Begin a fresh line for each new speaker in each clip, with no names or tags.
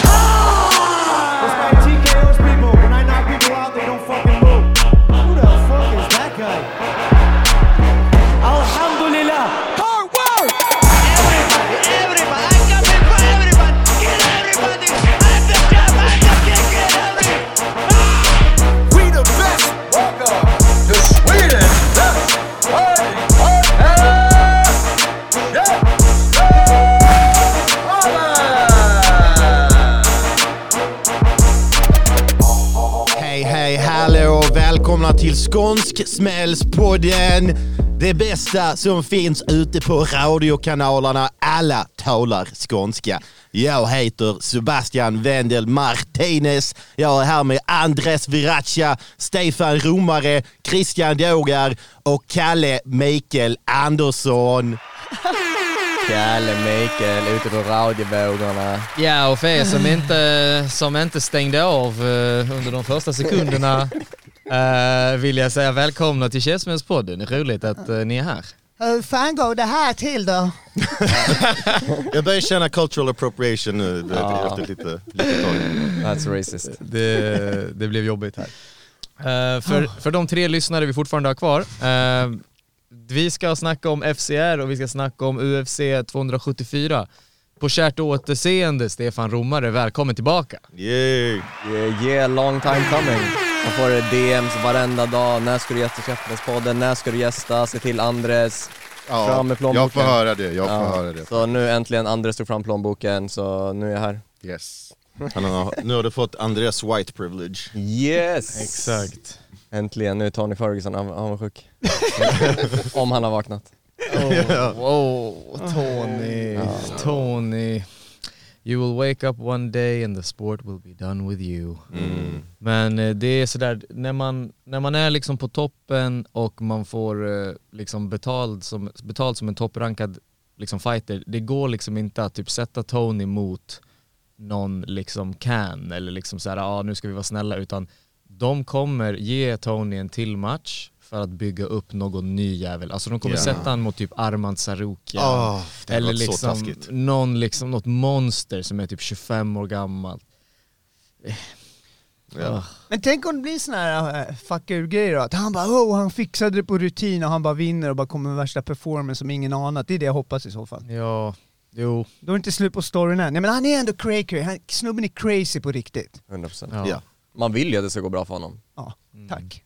time!
Like TKO's people, when I knock people out, they don't fucking move. Who the fuck is that guy?
Alhamdulillah. Hard work!
We the best. Welcome. The Sweden. Best. Party. Party. Yeah. Holla!
Hej, hej, hallå och välkomna till Skånsk Smällspodden. Det bästa som finns ute på radiokanalerna. Alla talar skånska. Jag heter Sebastian Wendel Martinez. Jag är här med Andres Viracha, Stefan Romare, Christian Dågar och Kalle Mikael Andersson.
Kalle Mikael ute på radiovågorna.
Ja, och för er som inte, som inte stängde av eh, under de första sekunderna eh, vill jag säga välkomna till Käftsmällspodden. Roligt att eh, ni är här.
Hur fan går det här till då?
Jag börjar känna cultural appropriation nu
Ja.
efter lite, lite tag.
That's racist.
Det, det blev jobbigt här. Eh, för, för de tre lyssnare vi fortfarande har kvar. eh, vi ska snacka om FCR och vi ska snacka om UFC 274. På kärt återseende Stefan Romare, välkommen tillbaka.
Yay.
Yeah, yeah, long time coming. Man får DMs varenda dag. När ska du gästa Käftsmällspodden? När ska du gästa? Se till Andres.
Ja,
Fram med plånboken.
Jag får höra det, jag får
Ja,
höra det.
Så nu äntligen Andres tog fram plånboken, så nu är jag här.
Yes.
Han har, nu har du fått Andreas white privilege.
Yes! Äntligen, nu är Tony Ferguson av- avundsjuk. Om han har vaknat.
Wow, Tony. Tony. You will wake up one day and the sport will be done with you. Men eh, det är sådär, när man, när man är liksom på toppen och man får eh, liksom betald som, betalt som en topprankad liksom fighter, det går liksom inte att typ sätta Tony mot någon liksom can eller liksom såhär, ja ah, nu ska vi vara snälla, utan de kommer ge Tony en till match för att bygga upp någon ny jävel. Alltså de kommer
Ja.
sätta han mot typ Armand Sarukian.
Åh, det hade
eller
varit så
liksom,
taskigt.
någon liksom, något monster som är typ 25 år gammalt.
Ja.
Men tänk om det blir sån här uh, fuck grej då, att han bara oh, han fixade det på rutin och han bara vinner och bara kommer med värsta performance som ingen anat. Det är det jag hoppas i så fall.
Ja, jo.
Då är det inte slut på storyn än. Nej men han är ändå crazy, han, snubben är crazy på riktigt.
100%.
Ja.
Ja.
Man vill ju att det ska gå bra för honom.
Ja, tack.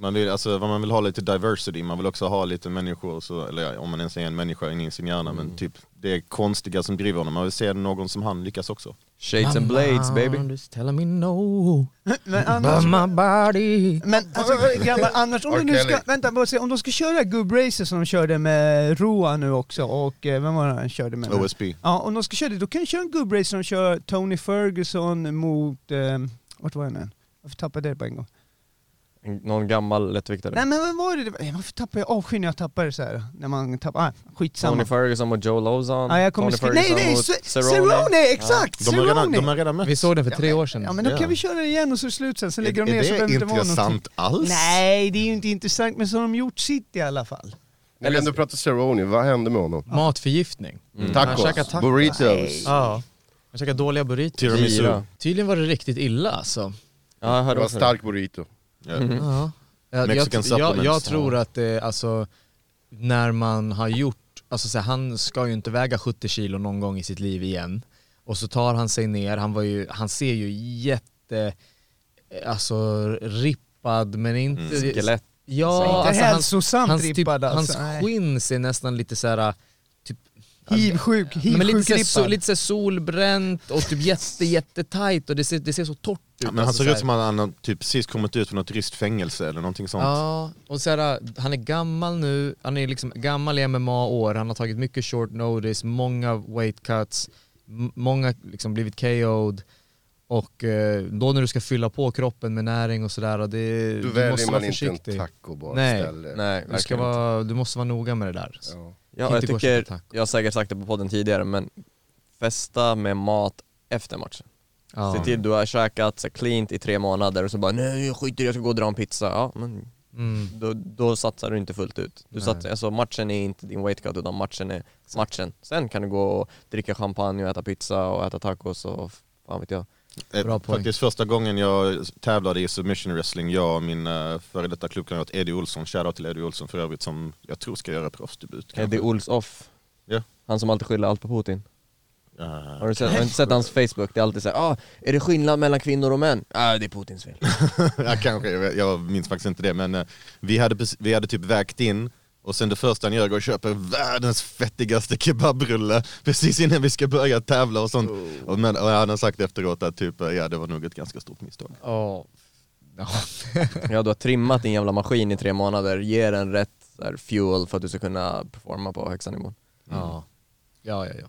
Man vill, alltså, vad man vill ha lite diversity, man vill också ha lite människor, så, eller ja, om man ens är en människa in i sin hjärna, men
Mm.
typ det är konstiga som driver honom, man vill se någon som han lyckas också.
Shades and blades baby.
Just telling me no,
Men
but
annars,
my body.
men alltså, grabbar, annars om du nu ska, vänta, bara se, om de ska köra gubbracer som de körde med Roa nu också och eh, vem var det han körde
Mm.
med?
OSB.
Ja, om de ska köra det, då kan de köra en gubbrace som kör Tony Ferguson mot, eh, vart var jag nu? Varför tappade jag det på en gång?
Någon gammal lättviktare.
Nej men vad var det? det? var- eh, Varför tappar jag avsky när jag tappar det så här? När man tappar, ah,
Tony
skitsamma.
Ferguson mot Joe Lozon.
Ja, jag kommer
Tony
skriva, nej nej!
mot
Se-
Cerrone.
Cerrone! Exakt!
De har redan, de
Cerrone!
har redan mött.
Vi såg den för tre år sedan.
Ja men då
Ja.
kan vi köra igen och så är det slut sen, sen lägger
är,
de ner så
är
behöver
det
det inte vara någonting.
intressant alls?
Nej, det är ju inte intressant men så har de gjort sitt i alla fall.
Alltså,
När vi ändå pratar Cerrone, vad hände med honom?
Matförgiftning.
Mm.
Tacos,
Han käkar tacos.
burritos.
Ja. Man käkar dåliga burritos.
Tiramisu.
Fyra.
Tydligen var det riktigt illa alltså.
Ja, jag
Det
hörde
var
också det.
stark burrito.
Ja.
Ja. Jag,
Mexican
jag, jag, jag
supplements.
tror att det, alltså, när man har gjort, alltså så här, han ska ju inte väga 70 kilo någon gång i sitt liv igen. Och så tar han sig ner, han, var ju, han ser ju jätte, eh, alltså rippad men inte...
Mm. Skelett.
Ja,
Inte
alltså,
hälsosamt
hans,
rippad,
typ,
alltså. Nej.
Hans skinn ser nästan lite så här typ,
Hivsjuk,
men lite, så här, so,
hivsjuk
lite så här solbränt och typ jätte, jättetajt och det ser, det ser så torrt ut.
Men han
alltså,
såg
så
ut
här.
som han han typ sist kommit ut från något ryskt fängelse eller någonting sånt.
Ja, och så här, han är gammal nu, han är liksom gammal i MMA-år, han har tagit mycket short notice, många weight cuts, m- många liksom blivit KO'd och eh, då när du ska fylla på kroppen med näring och sådär, det,
Då
du måste vara
väljer man inte en
försiktig.
tacobar
Nej.
istället.
Nej,
du, ska
verkligen inte.
vara, du måste vara noga med det där.
Ja.
Ja,
Inte
jag
gå och
tycker,
köpa tacos.
jag har säkert sagt det på podden tidigare, men festa med mat efter matchen.
Ja.
Se till du har käkat så här, cleant i tre månader och så bara nej jag skiter i det, jag ska gå och dra en pizza. Ja, men
Mm.
då, då satsar du inte fullt ut. Du satsar, alltså matchen är inte din weight cut utan matchen är matchen. Sen kan du gå och dricka champagne och äta pizza och äta tacos och fan vet jag.
Eh,
Bra poäng.
Faktiskt första gången jag tävlade i submission wrestling, jag och min eh, före detta klubbkamrat Eddie Olsson, shoutout till Eddie Olsson för övrigt som jag tror ska göra proffsdebut. kanske.
Eddie Olsoff.
Ja.
Han som alltid skyller allt på Putin.
Eh,
Har du sett, har du inte sett hans Facebook? Det är alltid såhär, ah, är det skillnad mellan kvinnor och män? ah, det är Putins fel.
ja, kanske, jag- jag minns faktiskt inte det men eh, vi, hade, precis- vi hade typ vägt in och sen det första han gör går och köper världens fettigaste kebabrulle precis innan vi ska börja tävla och sånt.
Oh.
Och, men, och han har sagt efteråt att typ, eh, ja det var nog ett ganska stort misstag.
Ja.
Ja, du har trimmat din jävla maskin i tre månader, ge den rätt så här, fuel för att du ska kunna performa på högsta nivån.
Mm.
Ja. Ja, ja, ja.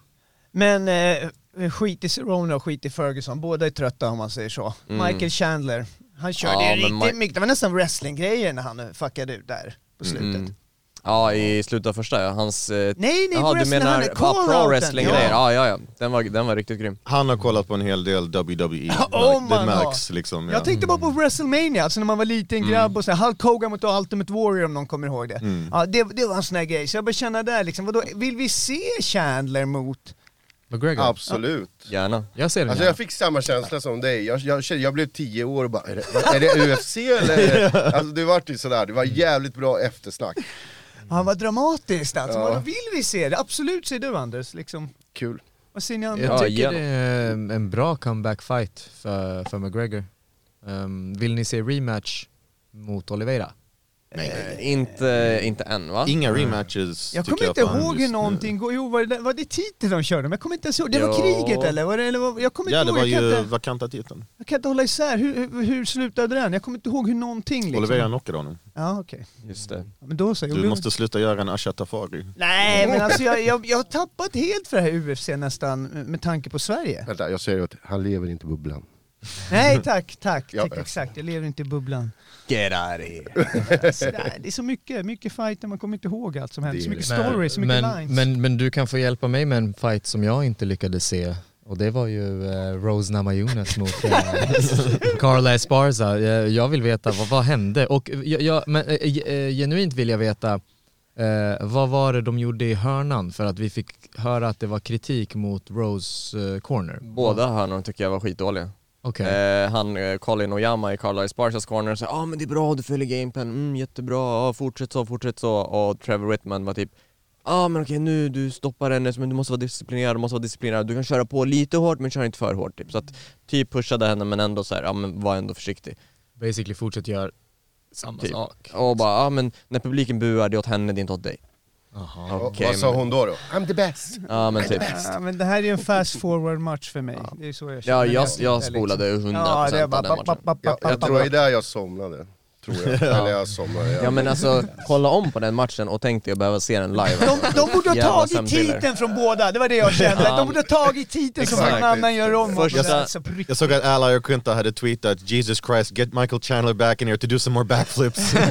Men eh, skit i Cerrone och skit i Ferguson, båda är trötta om man säger så.
Mm.
Michael Chandler, han körde
Ja,
ju
men
riktigt
Mi-
mycket, det var nästan wrestlinggrejer när han fuckade ut där på slutet.
Mm. Ja, i slutet av första ja. Hans... eh,
Nej, nej,
Jaha,
på
du
wrestling, han
menar
är
ja,
call-outen,
pro wrestling grejer? Ja,
ja.
ja, ja. Den var, den var riktigt grym.
Han har kollat på en hel del WWE,
Oh
det
my
märks liksom. Ja.
Jag tänkte bara på WrestleMania, alltså när man var liten
Mm.
grabb och så här, Hulk Hogan mot Ultimate Warrior om någon kommer ihåg det. Ja, det, det var en sån här grej, så jag började känna där liksom, vadå, vill vi se Chandler mot...
McGregor?
Absolut.
Gärna.
Jag ser den
Alltså
gärna.
jag fick samma känsla som dig, jag, jag, kände- jag blev tio år och bara är det, är det UFC eller? är det-" Alltså det vart ju sådär, det var jävligt bra eftersnack.
Han var dramatiskt alltså,
Ja.
vadå, vill vi se det? Absolut säger du Anders, liksom.
Kul.
Vad säger ni andra?
Jag
Ja,
tycker
gärna.
det är en bra comeback fight för, för McGregor. Ehm, vill ni se rematch mot Oliveira?
Eh, Inte, inte än va?
Inga rematches
Jag
tycker
kommer inte
fan
ihåg hur
just nu.
någonting går, jo var det, var det titeln de körde? Men jag kommer inte ens ihåg, det var
Ja.
kriget eller? Var det, eller var, jag kommer
Ja
inte
det var
ihåg, jag, kan
ju
inte,
vakanta titeln.
jag kan inte hålla isär, hur, hur, hur slutade den? Jag kommer inte ihåg hur någonting liksom.
Olivera knockade honom.
Ja okej,
Just det.
Ja, men då så.
Du måste sluta göra en Asha Tafari.
Nej men alltså jag, jag, jag har tappat helt för det här UFC nästan med tanke på Sverige.
Vänta, jag säger att han lever inte i bubblan.
Nej tack, tack,
Ja.
tack exakt, jag lever inte i bubblan.
Get out of here.
Alltså, det är- det är så mycket, mycket fighter, man kommer inte ihåg allt som händer. Så mycket stories, så mycket
men,
lines.
men, men du kan få hjälpa mig med en fight som jag inte lyckades se. Och det var ju eh, Rose Namajunas mot eh, Carla Esparza. Jag, jag vill veta vad, vad hände. Och jag, jag, men, eh, eh, genuint vill jag veta, eh, vad var det de gjorde i hörnan? För att vi fick höra att det var kritik mot Rose eh, corner.
Båda hörnorna tycker jag var skitdåliga.
Okej.
Eh, han, eh, Colin Oyama i Carlisle Sparsas corner sa ah, men det är bra, du följer gamepen, mm, jättebra, ah, fortsätt så, fortsätt så. Och Trevor Whitman var typ ah, men okej nu, du stoppar henne, men du måste vara disciplinerad, du måste vara disciplinerad. Du kan köra på lite hårt men kör inte för hårt. Typ. Så att typ pushade henne men ändå så här, ah, men var ändå försiktig.
Basically fortsätt göra samma
Typ.
sak.
Och bara, ah, men när publiken buar, det är åt henne, det är inte åt dig.
Aha.
Okej,
Vad sa
men-
hon då då? I'm the best!
Ja men typ.
Ja, men det här är ju en fast forward match för mig. Det är så jag känner.
Ja jag,
när
jag
tittar,
spolade 100%
Ja, det är
av
bara
den
papp, papp,
matchen.
papp,
Jag,
papp,
jag
papp.
tror det är där jag somnade, tror jag. Eller jag somnade, jag,
Ja men alltså, kolla om på den matchen och tänk dig att behöva se den live.
De, de borde ha
Jävla
tagit
sömnpiller.
titeln från båda, det var det jag kände. De borde ha tagit titeln som
Exakt.
någon annan gör om. och-
Första-
alltså, på riktigt.
Jag såg att Ally Quinta hade tweetat Jesus Christ, get Michael Chandler back in here to do some more backflips.
Ja,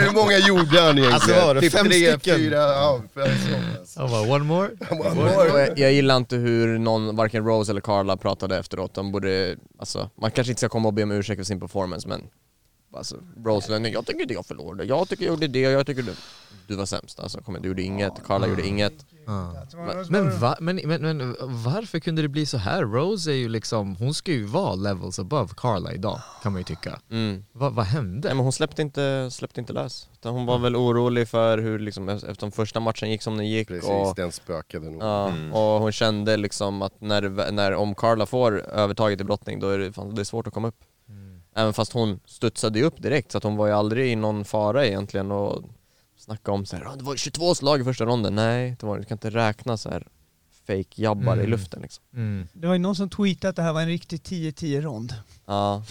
Hur många gjorde han egentligen?
Alltså, vad var det?
Typ
Fem
tre,
stycken?
Fyra, ja, fem stycken.
Jag bara, one more?
Och jag- Jag gillar inte hur någon, varken Rose eller Carla pratade efteråt. De borde, alltså, man kanske inte ska komma och be om ursäkt för sin performance men alltså, Rose Lennon, jag tycker inte jag förlorade, jag tycker jag gjorde det och jag tycker du, du var sämst. Alltså, kom igen, du gjorde inget, Carla gjorde inget.
Men, va, men, men, men varför kunde det bli så här? Rose är ju liksom, hon ska ju vara levels above Carla idag, kan man ju tycka.
Mm.
Va, vad hände?
Nej men hon släppte inte, släppte inte lös. Utan hon var väl orolig för hur liksom, eftersom första matchen gick som den gick
Precis,
och
den spökade nog.
Ja, och hon kände liksom att när, det- när om Carla får övertaget i brottning då är det, fan, det är svårt att komma upp. Även fast hon studsade ju upp direkt så att hon var ju aldrig i någon fara egentligen och snacka om så här, "Ah, det var 22 slag i första ronden. Nej, det var, du kan inte räkna så här fake jabbar i
Mm.
luften liksom.
Mm.
Det var ju någon som tweetade att det här var en riktig 10-10-rond.
Ja.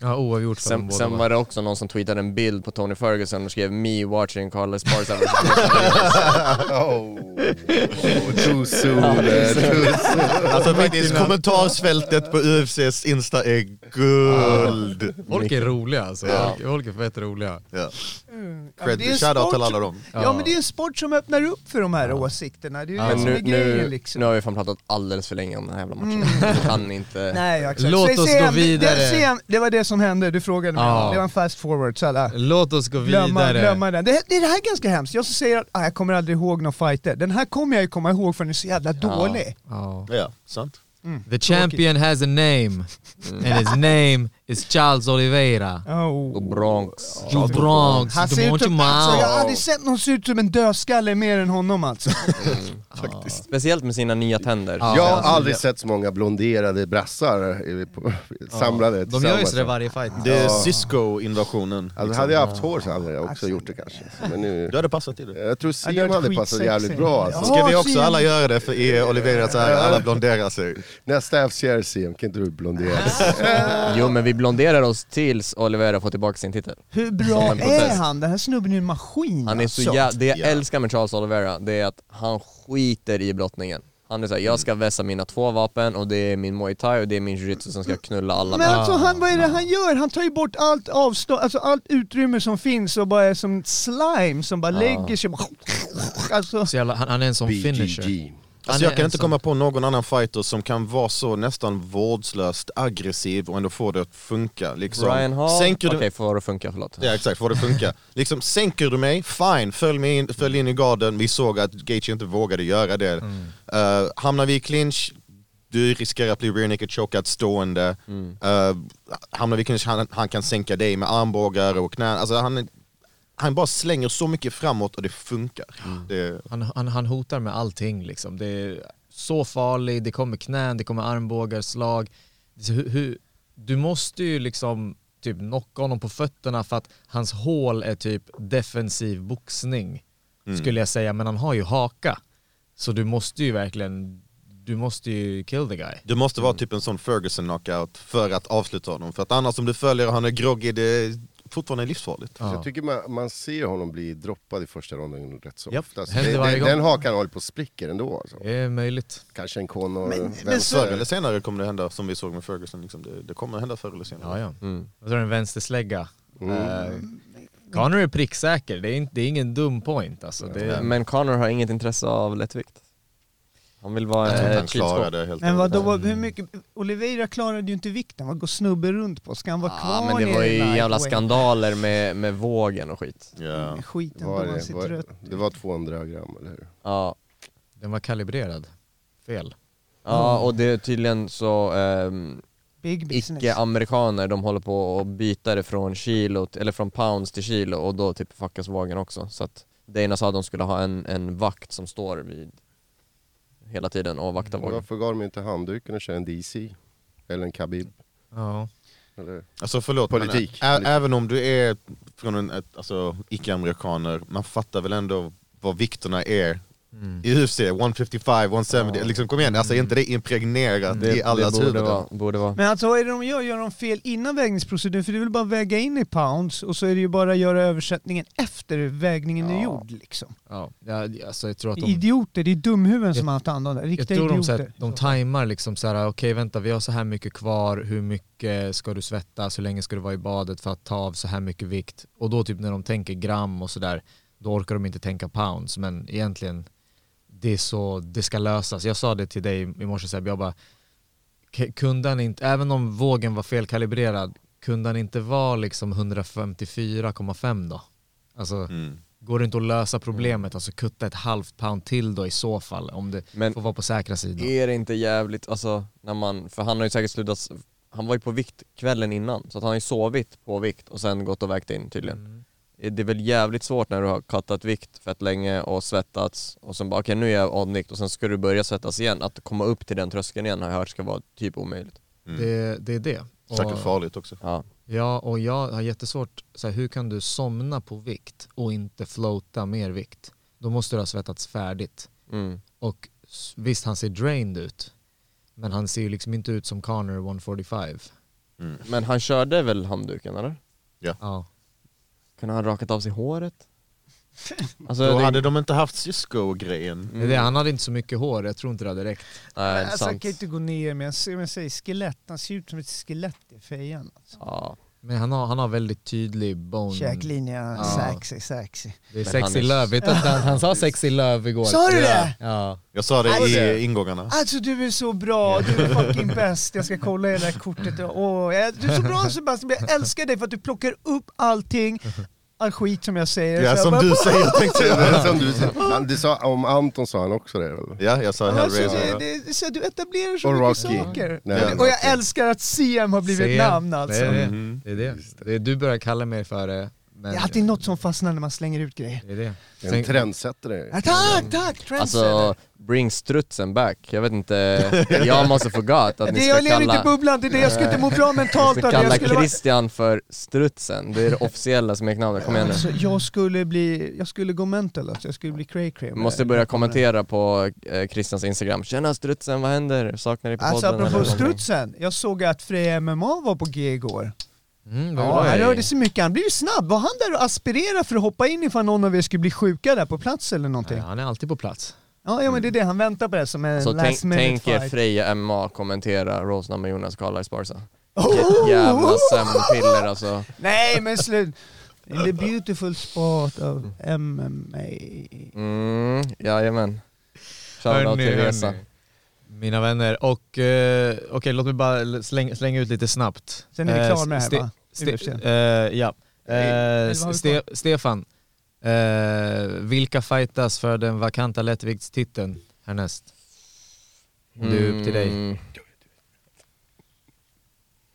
Ja, oavgjort för dem
Sen,
båda.
sen var det också någon som tweetade en bild på Tony Ferguson och skrev “Me watching Carla Esparza vs.
Oh, oh, too soon, eh, too soon.
alltså faktiskt, kommentarsfältet på UFCs Insta är guld.
Folk är roliga alltså, folk, folk är fett roliga.
Ja.
Mm. Ja, men
Cred,
det är en
shoutout till
sport-
alla dem.
Ja. men det är en sport som öppnar upp för de här åsikterna, det är ju det
Men
som
nu,
är grejen
nu,
liksom.
nu
Mm.
har vi fan pratat alldeles för länge om den här jävla matchen. Vi kan inte...
Nej, ja, exakt.
Låt
Så
oss
CM,
gå vidare.
Det, CM, det var det som hände, du frågade mig.
Ja.
Det var en fast forward, så alla.
Låt oss gå vidare.
Glömma, glömma den. Det, det, det här är ganska hemskt. Jag som säger att ah, jag kommer aldrig ihåg någon fighter. Den här kommer jag ju komma ihåg för den är så jävla dålig.
Ja.
Ja, sant.
The champion has a
Mm.
name, and his name is Charles Oliveira.
Oh.
Bronx.
Joe Bronx,
Han ser
de
ut som, alltså, jag har
Montemau.
aldrig sett någon se ut som en dödskalle mer än honom alltså.
Speciellt med sina nya tänder.
Ja.
Jag har aldrig sett så många blonderade brassar eh, på- samlade
De gör ju
tillsammans.
sådär varje fight.
Det är Cisco-invasionen.
Alltså, hade jag haft hår så hade jag också gjort det kanske. Men nu,
Du hade passat i det.
jag tror
Ja, det
Siam
var
hade passat
skitsexy.
jävligt bra alltså.
Ska
Ja,
vi också
Siam.
alla göra det för
E.
i Oliveras ära, alla blonderar sig?
Nästa FCR Siam, kan inte du blondera?
Jo men vi blonderar oss tills Olivera får tillbaka sin titel.
Hur bra
en protest.
är han? Den här snubben är en maskin
Han är så
alltså.
jä- Det jag
Ja.
älskar med Charles Oliveira, det är att han skiter i brottningen. Han är såhär, jag ska vässa mina två vapen och det är min muay thai och det är min jujitsu som
Mm.
ska knulla alla
Men
med.
alltså han, vad är det han gör? Han tar ju bort allt avstånd, alltså allt utrymme som finns och bara är som slime som bara lägger sig. Alltså,
Så jävla, han, han är en sån finisher.
BGG.
Han
Alltså
är
jag kan
en
inte
sån-
komma på någon annan fighter som kan vara så nästan vårdslöst aggressiv och ändå få det att funka. Liksom.
Brian Hall,
Sänker
okej
du...
får det funka, förlåt.
Ja exakt, får det funka. liksom, sänker du mig, fine, följ, mig in, följ in i garden. Vi såg att Gaethje inte vågade göra det.
Mm.
Eh, hamnar vi i clinch, du riskerar att bli rear-naked chokad stående.
Mm.
Eh, hamnar vi i clinch, han, han kan sänka dig med armbågar och knän. Alltså, han, han bara slänger så mycket framåt och det funkar.
Mm.
Det,
Han, han, han hotar med allting liksom. Det är så farligt, det kommer knän, det kommer armbågar, slag. Så hur- hur- du måste ju liksom typ knocka honom på fötterna för att hans hål är typ defensiv boxning skulle jag säga. Men han har ju haka. Så du måste ju verkligen, du måste ju kill the guy.
Du måste vara typ en sån Ferguson knockout för att avsluta honom. För att annars om du följer och han är groggig, det är fortfarande livsfarligt.
Så Jag tycker man, man ser honom bli droppad i första ronden rätt så
Japp,
ofta. Alltså,
händer
det-
varje
det-
gång. Eh.
den hakan håller på att spricka ändå. Alltså.
Det är möjligt.
Kanske en Conor...
men
vem-
så-
Förr eller senare kommer det hända som vi såg med Ferguson. Liksom. Det, det kommer hända förr eller senare.
Ja, ja. Och så är det en vänsterslägga. Mm. Connor är pricksäker, det är, inte, det är ingen dum point alltså. Det är,
Men Connor har inget intresse av lättvikt. Han vill vara
Jag tror inte han
ett
klarar
kylskåp.
det helt
men
enkelt.
vadå, vad, hur mycket? Oliveira klarade ju inte vikten, vad går snubben runt på? Ska han vara kvar
Ja, men
i
det var ju
lightweight?
jävla skandaler med, med vågen och skit.
Ja.
Skiten
Var
på han
det,
sitter
var,
rött.
det var 200 gram, eller hur?
Ja.
den var kalibrerad. Fel.
Ja och det är tydligen så ehm,
Big business.
icke-amerikaner, de håller på och byta det från kilo, t- eller från pounds till kilo och då typ fuckas vågen också. Så att Dana sa att de skulle ha en, en vakt som står vid hela tiden och vaktar vågen.
Varför gav de inte handduken och körde en DC? Eller en Khabib?
Ja.
Eller?
Alltså förlåt,
Politik.
Men, ä- ä- även om du är från en ett, alltså, icke-amerikaner, man fattar väl ändå vad vikterna är i UFC, 155, 170, liksom kom igen, alltså är inte det impregnerat i allas
borde
huvuden?
vara, borde vara.
Men alltså vad är det de gör? Gör de fel innan vägningsproceduren? För det är väl bara att väga in i pounds och så är det ju bara att göra översättningen efter vägningen är gjord liksom.
Ja, ja, alltså jag tror att de,
Idioter, det är dumhuvuden som
Jag-
har haft hand om det.
jag
Riktiga
tror de, så
idioter.
här, de tajmar liksom så här, okej vänta vi har så här mycket kvar, hur mycket ska du svettas, hur länge ska du vara i badet för att ta av så här mycket vikt? Och då typ när de tänker gram och sådär, då orkar de inte tänka pounds, men egentligen det är så det ska lösas. Jag sa det till dig i morse Seb, jag bara, k- kunde han inte, även om vågen var felkalibrerad, kunde han inte vara liksom 154,5 då? Alltså,
Mm.
går det inte att lösa
Mm.
problemet, alltså kutta ett halvt pound till då i så fall, om det
Men-
får vara på säkra sidan?
Är det inte jävligt, alltså när man, för han har ju säkert slutat, s- han var ju på vikt kvällen innan, så att han har ju sovit på vikt och sen gått och vägt in tydligen. Eh, Det är väl jävligt svårt när du har kattat vikt fett länge och svettats och sen bara okej nu är jag avvikt och sen ska du börja svettas igen. Att komma upp till den tröskeln igen har jag hört ska vara typ omöjligt.
Mm.
Det, det är det.
Säkert farligt också.
Ja.
ja, och jag har jättesvårt, så här, hur kan du somna på vikt och inte floata mer vikt? Då måste du ha svettats färdigt.
Mm.
Och s- visst, han ser drained ut, men han ser ju liksom inte ut som Connor 145.
Men han körde väl handduken eller?
Ja.
Kunde han rakat av sig håret? Alltså,
Då
det,
hade de inte haft Cisco-grejen.
Mm.
Det är
Mm.
det, han hade inte så mycket hår, jag tror inte det hade räckt.
nej,
alltså, han
sant.
kan ju inte gå ner med, men jag säger skelett, han ser ut som ett skelett i fejan. Alltså.
Ja.
Men han har, han har väldigt tydlig bone.
Käklinja,
Ja.
sexy, sexy.
Det är
Men han
sexy
är-
löv. Vet du att han, han sa sexy löv igår?
Sa du det?
Ja.
Jag sa det i ingångarna.
Alltså du är så bra, du är fucking bäst. Jag ska kolla det där kortet. Åh, jag- du är så bra Sebastian, jag älskar dig för att du plockar upp allting, all skit som jag säger. Så
Ja,
jag
som
bara-
du säger tänkte
Det
jag.
är som du, säger. han, du sa, om Anton sa han också det väl?
Ja, jag sa
Alltså,
Hellraiser.
det,
ja.
det, så du etablerar så
Och
mycket
Rocky.
saker.
Nej,
och, och jag
Rocky.
älskar att CM har blivit ett
Sen.
namn alltså.
Det är det.
Mhm.
Det är det. det är, du börjar kalla mig för det. Men
Det är alltid något som fastnar när man slänger ut grejer.
det är det.
En trendsättare.
Ja, tack, tack! Trendsetter.
Alltså, bring strutsen back. Jag vet inte, jag måste forgot att ni
det,
ska
jag lever inte i
kalla,
bubblan, det är det jag skulle inte må bra mentalt
ska
av. det. Jag
kalla
skulle, vara-
Christian för strutsen. Det är det officiella smeknamnet, kom igen nu.
alltså, jag skulle bli, jag skulle gå mental alltså. jag skulle bli cray cray.
Jag måste börja kommentera på eh, Christians instagram. Tjena strutsen, vad händer? Saknar dig på
Alltså
podden
apropå
någonting?
strutsen, jag såg att Freja MMA var på G igår.
Mm, vad
Ja,
bra.
han rörde sig mycket, han blev ju snabb. Var han där och aspirerade för att hoppa in ifall någon av er skulle bli sjuka där på plats eller
Ja,
någonting?
han är alltid på plats.
Ja, ja men det är det, han väntar på det som en
Så tänk,
last minute
tänk er
fight.
Freja MMA kommentera Rosna med Jonas Karlbergs Barca.
Oh!
Jävla sömnpiller alltså.
Nej men slut! In the beautiful spot of MMA.
Mm, jajamän. Shoutout
Hörni,
till Resa.
hörni. Mina vänner, och eh, okej låt mig bara slänga, slänga ut lite snabbt.
Sen är vi
Eh,
klara med det här,
Ste-
va?
Ste-
UFC.
eh, ja. Eh,
eller vad har vi
Ste- Stefan, eh, vilka fightas för den vakanta lättviktstiteln härnäst? Om det är upp till dig.
Mm.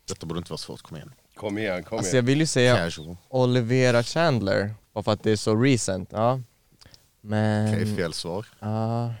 Detta borde inte vara svårt, kom igen.
Kom igen, kom
Alltså
igen.
jag vill ju säga
Casual.
Olivera Chandler, bara för att det är så recent. Ja. Men...
Mm.
Okej, fel svar.
ja.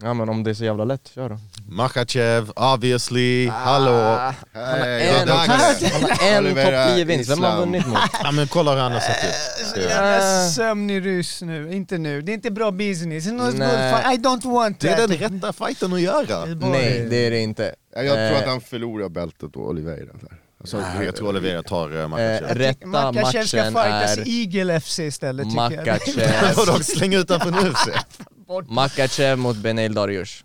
ja men om det är så jävla lätt, kör då.
Makachev,
Ah.
obviously. Hallå.
Hej,
en
dags.
han har en
Olivera
topp 10-vinst, vem har han
Islam.
vunnit mot?
Ja, men kolla hur han har sett
Eh,
ut. Ja.
Jävla sömnig ryss nu, inte nu. Det är inte bra business. It's not good
Nej.
fight. I don't want
Det är
that.
den rätta fighten att göra.
eh,
Nej, det är det inte.
Ja, Jag tror
Eh,
att han förlorar bältet då, Oliveira. Där. Alltså,
Jag tror Olivera tar eh,
Eh,
Makachev.
rätta
Makachev ska
matchen
fightas
är
Eagle FC istället tycker
Makachev,
Vadå, släng ut honom från UFC?
Makachev mot Benel Dariush.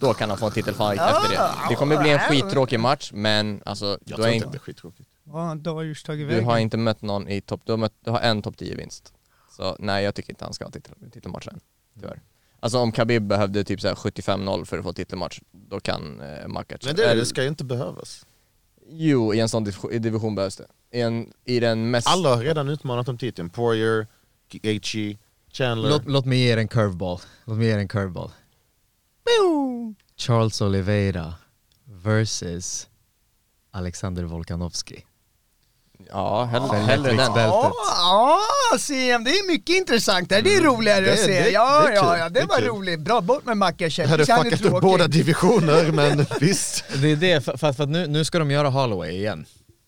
Då kan han få en titelfight efter det. Det kommer bli en skittråkig match, men alltså,
Jag
du har,
tror inte att
inte,
det är skittråkigt.
jag. Vad har Darius tagit
du
vägen?
har inte mött någon i topp, du har, mött, du har en topp 10-vinst. Så nej, jag tycker inte han ska ha titel, titelmatchen, tyvärr. Alltså om Khabib behövde typ så här 75-0 för att få titelmatch, då kan eh, Makachev...
Men det,
eller-
det ska ju inte behövas.
Jo, i en sån div- division behövs det. I, en, i den mest...
Alla har redan utmanat om titeln. Poirier, Gaethje, Chandler.
Låt, låt mig ge er en curveball. Låt mig ge er en curveball. Charles Oliveira versus Alexander Volkanovski.
Ja, hell,
För
hellre den.
lättviktsbältet.
Ja, ja, CM, Ah, det är mycket intressant där. Det är roligare
det-
att se.
det-
ja,
det är kul.
ja, ja, det,
Det är
var
kul.
roligt. Bra, bort med Makachev.
Jag hade
Han är
fuckat upp
tråkig.
båda divisioner, men visst.
Det är det, för, för, för att nu, nu ska de göra Holloway igen.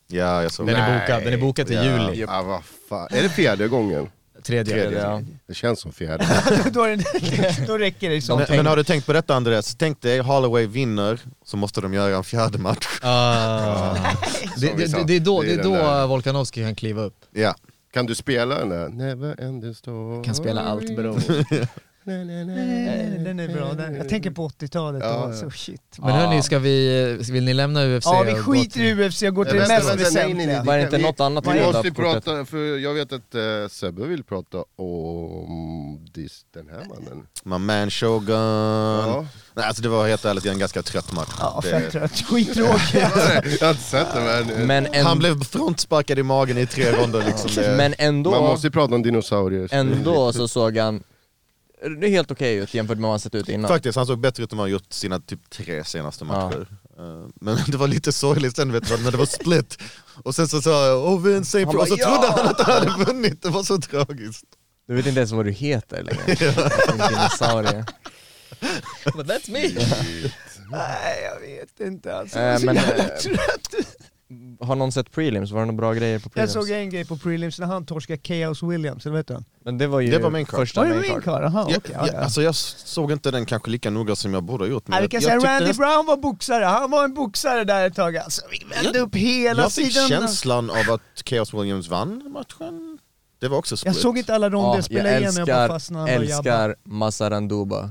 Ja, jag såg
Den
det.
är bokad, den är bokad till
Ja,
juli.
ja, vad fan. Är det fjärde gången?
Tredje.
Tredje, ja.
Det känns som fjärde.
då, är det, då räcker det så.
Men, men har du tänkt på detta Andreas? Tänk dig, Holloway vinner, så måste de göra en fjärde match.
Ah. det,
Som vi sa,
det, det är då,
det
det
är
är
den där.
då Volkanovski kan kliva upp.
Ja.
Kan du spela den där? Never ending story.
Kan spela allt bro.
Nej, nej,
Eh,
nej.
Nej, Den är bra. Den. Jag tänker på 80-talet.
Ja,
Ja,
ja.
så shit.
Men hörni, ska vi, vill ni lämna UFC?
Ja, vi
och gå
skiter
till-
i UFC och går till det
Vänta,
mest
vänta, nej, nej, nej.
väsentliga.
Var det
Vi-
inte något annat
Vi
i det
måste
där
ju
kortet?
prata, för jag vet att eh, Sebbe vill prata om dis, den här mannen.
My man Shogun.
Ja.
Nej, alltså det var helt ärligt en ganska trött match.
Ja, fett
det,
trött. Skittråkigt.
jag har inte sett den men,
Men, en,
han blev frontsparkad i magen i tre ronder liksom. Det,
men ändå...
man måste ju prata om dinosaurier.
Ändå så såg han det är helt okej ut jämfört med vad han sett ut innan.
Faktiskt, han såg bättre ut än vad han gjort sina typ tre senaste matcher. Eh, Men det var lite sorgligt sen vet du, när det var split. Och sen så sa jag oh, vi är en safe
Han bara,
och så
"Ja!"
trodde han att han hade vunnit, det var så tragiskt.
Du vet inte ens vad du heter längre. En dinosaurie.
But that's me!
Nej, jag vet inte alltså. Jag är
Eh,
så
men,
jävla
eh,
trött.
Har någon sett prelims? Var det några bra grejer på
Jag
prelims?
såg en grej på prelims när han torskade Chaos Williams, eller vet du?
Men det var ju
Det var main card.
första
Var det
main
min
card.
karl? Jaha, okej.
Ja,
ja,
ja,
ja.
alltså jag såg inte den kanske lika noga som jag borde ha gjort.
Ja, vi
jag,
kan
jag
säga
tyckte
Randy
nästan-
Brown var boxare, han var en boxare där ett tag alltså. Vi vände upp hela
jag fick
sidan.
känslan av att Chaos Williams vann matchen. Det var också split.
Jag såg inte alla ronder
Ja,
spela
jag
igen, jag bara
älskar,
fastnade och jabbade.
älskar Masaranduba.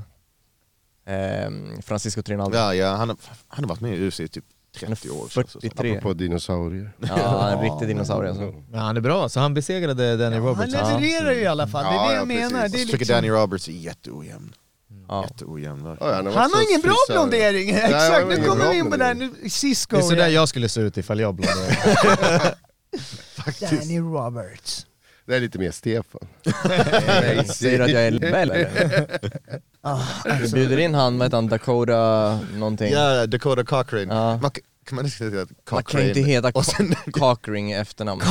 Ehm, Francisco Trinaldo.
Ja, ja, han, har- han har varit med i UFC i typ
30 år. sedan, så-
43.
Apropå dinosaurier.
Ja, en riktig dinosaurie alltså.
Men han är bra, så han besegrade Danny
Han
Roberts.
levererar ju i alla fall, det är
Ja,
det
ja,
jag menar.
precis.
Det är
Jag
Alltså,
tycker
liksom...
Danny Roberts är jätteojämn.
Ja.
Jätteojämn verkligen.
Ja, han varit
Han
så
har ingen bra
frisör.
blondering!
han
Exakt,
har
nu
ingen
kommer
bra
vi in på det här,
blondering.
nu,
Det
Cisco
är sådär
igen.
jag skulle se ut ifall jag blonderade.
Danny Roberts.
Det är lite mer Stefan.
Säger du att jag är rebell eller?
Ah,
Du
alltså-
bjuder in han, vad heter han, Dakota någonting?
Ja, Dakota Cochrane.
Ja.
Man, kan- kan man inte säga Cochrane?
Man kan ju inte heta
Och sen,
Co- Cockring i efternamn.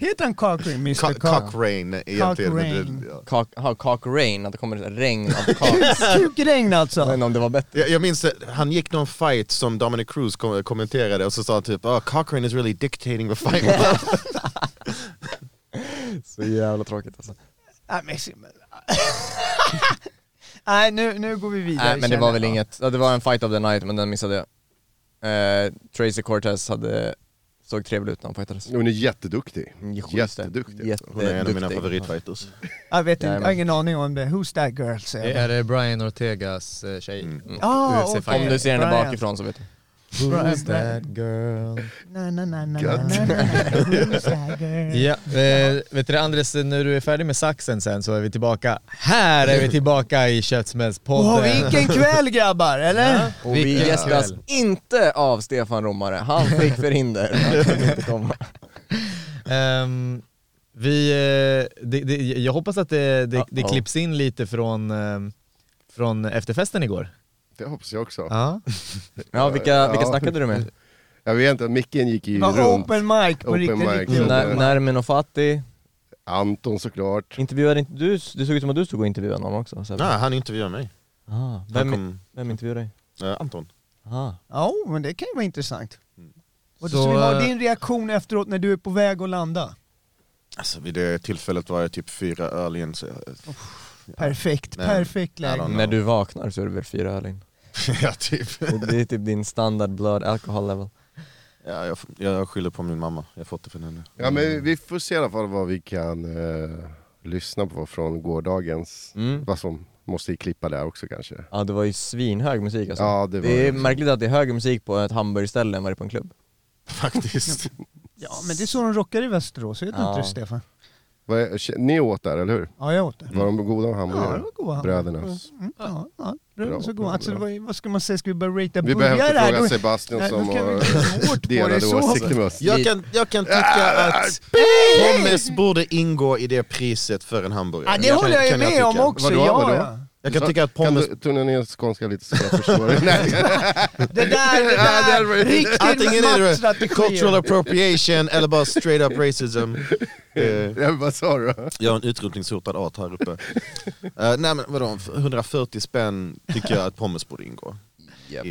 Heter han Cochran, Mr
Co-
Cock?
Cochrane egentligen. men
Cochrane.
det- ja.
Cock, ha, cockring, att det kommer ett regn av cocks.
Kukregn
Jag vet
alltså!
inte om det var bättre.
Jag, jag minns att han gick någon fight som Dominic Cruz kom, kommenterade och så sa han typ oh, Cochrane is really dictating the fight.
Så jävla tråkigt alltså.
Nej, men- Nej nu, nu går vi vidare
Nej men det
känner
var väl
jag.
inget, ja, det var en fight of the night men den missade jag. Eh, Tracy Cortez hade, såg trevlig ut när han fightades.
Hon är jätteduktig.
Schysst.
Jätteduktig.
Hon är en av mina
Jätteduktig.
favoritfighters.
Jag vet inte, jag har
Jajamän.
ingen aning om det. Who's that girl?
Det
säger jag.
är eh, Brian Ortegas eh, tjej.
Ah,
UFC
okej.
Om du ser henne
Brian.
bakifrån så vet du.
Who's that girl?
Na, na, na, na,
Gött.
na, na, na, who's that girl?
Ja, eh, vet du det, Andres, när du är färdig med saxen sen så är vi tillbaka. Här är vi tillbaka i
Åh,
Köttsmällspodden. Eh,
vilken kväll grabbar, eller?
Och vi
Vilken
gästas
kväll.
inte av Stefan Romare, han fick förhinder. Han kunde inte komma.
Ehm, vi, eh, det, det, jag hoppas att det, det, det
Uh-oh.
klipps in lite från, ehm, från efterfesten igår.
Det hoppas jag också.
Ja.
Ja, vilka, vilka
Ja.
snackade du med?
Jag vet inte, micken gick ju
Det var
runt.
open mic på
Open
riktigt.
mic,
riktigt.
så
När-
det-
Nermin och Fatih,
Anton såklart.
intervjuade inte du, det såg ut som att du stod och intervjuade någon också Sebbe.
Nej, han intervjuade mig.
Ah,
Han
vem,
kom,
vem intervjuade dig?
eh, Anton.
Ah.
Ja, men det kan ju vara intressant. Och så,
Så,
vi har
eh,
din reaktion efteråt när du är på väg att landa.
Alltså vid det tillfället var jag typ fyra öl in så jag,
Perfekt,
Nej.
perfekt
Ja,
läge.
då.
När du vaknar så är det väl fyra öl in?
ja, typ.
Det- Det är typ din standard blood alcohol level.
Ja, jag, jag skyller på min mamma, jag har fått det från henne.
Ja men vi får se i alla fall vad vi kan eh, lyssna på från gårdagens.
Mm.
Vad som måste klippa där också kanske.
Ja det var ju svinhög musik alltså.
Ja, det var
är
det.
märkligt att det är högre musik på ett hamburgerställe än vad det är på en klubb.
Faktiskt.
Ja, men det är så de rockar i Västerås, vet du
Ja.
inte det Stefan?
Vad är- Ni åt där, eller hur?
Ja, jag åt det.
Var de goda hamburgare?
Mm. Ja, det var goda hamburgare.
Brödernas.
Mm, ja, ja, det var
Bra,
så
bra,
god. Alltså, det
bra.
var, ju- vad ska man säga, ska vi börja ratea
Vi
burgare
behöver inte
här?
fråga
Då-
Sebastian
Nej, då
som
kan vi
har
inte gå hårt på det
delade
så.
åsikter med oss.
Jag kan, jag kan tycka att pommes borde ingå i det priset för en hamburgare.
Ja, det håller jag ju
Kan
med
tycka.
om också.
Vadå,
ja,
vadå?
Ja.
Jag kan tycka att pommes...
Kan du tona ner skånska lite så jag förstår? Nej.
Det där, det
Ja, det
där,
hade varit-
Antingen
riktig
är det cultural
maktstrategi.
appropriation eller bara straight up racism. Eh,
Ja, Vad sa du?
Jag har en utrotningshotad art här uppe. Eh, nej men vadå, 140 spänn tycker jag att pommes borde ingå.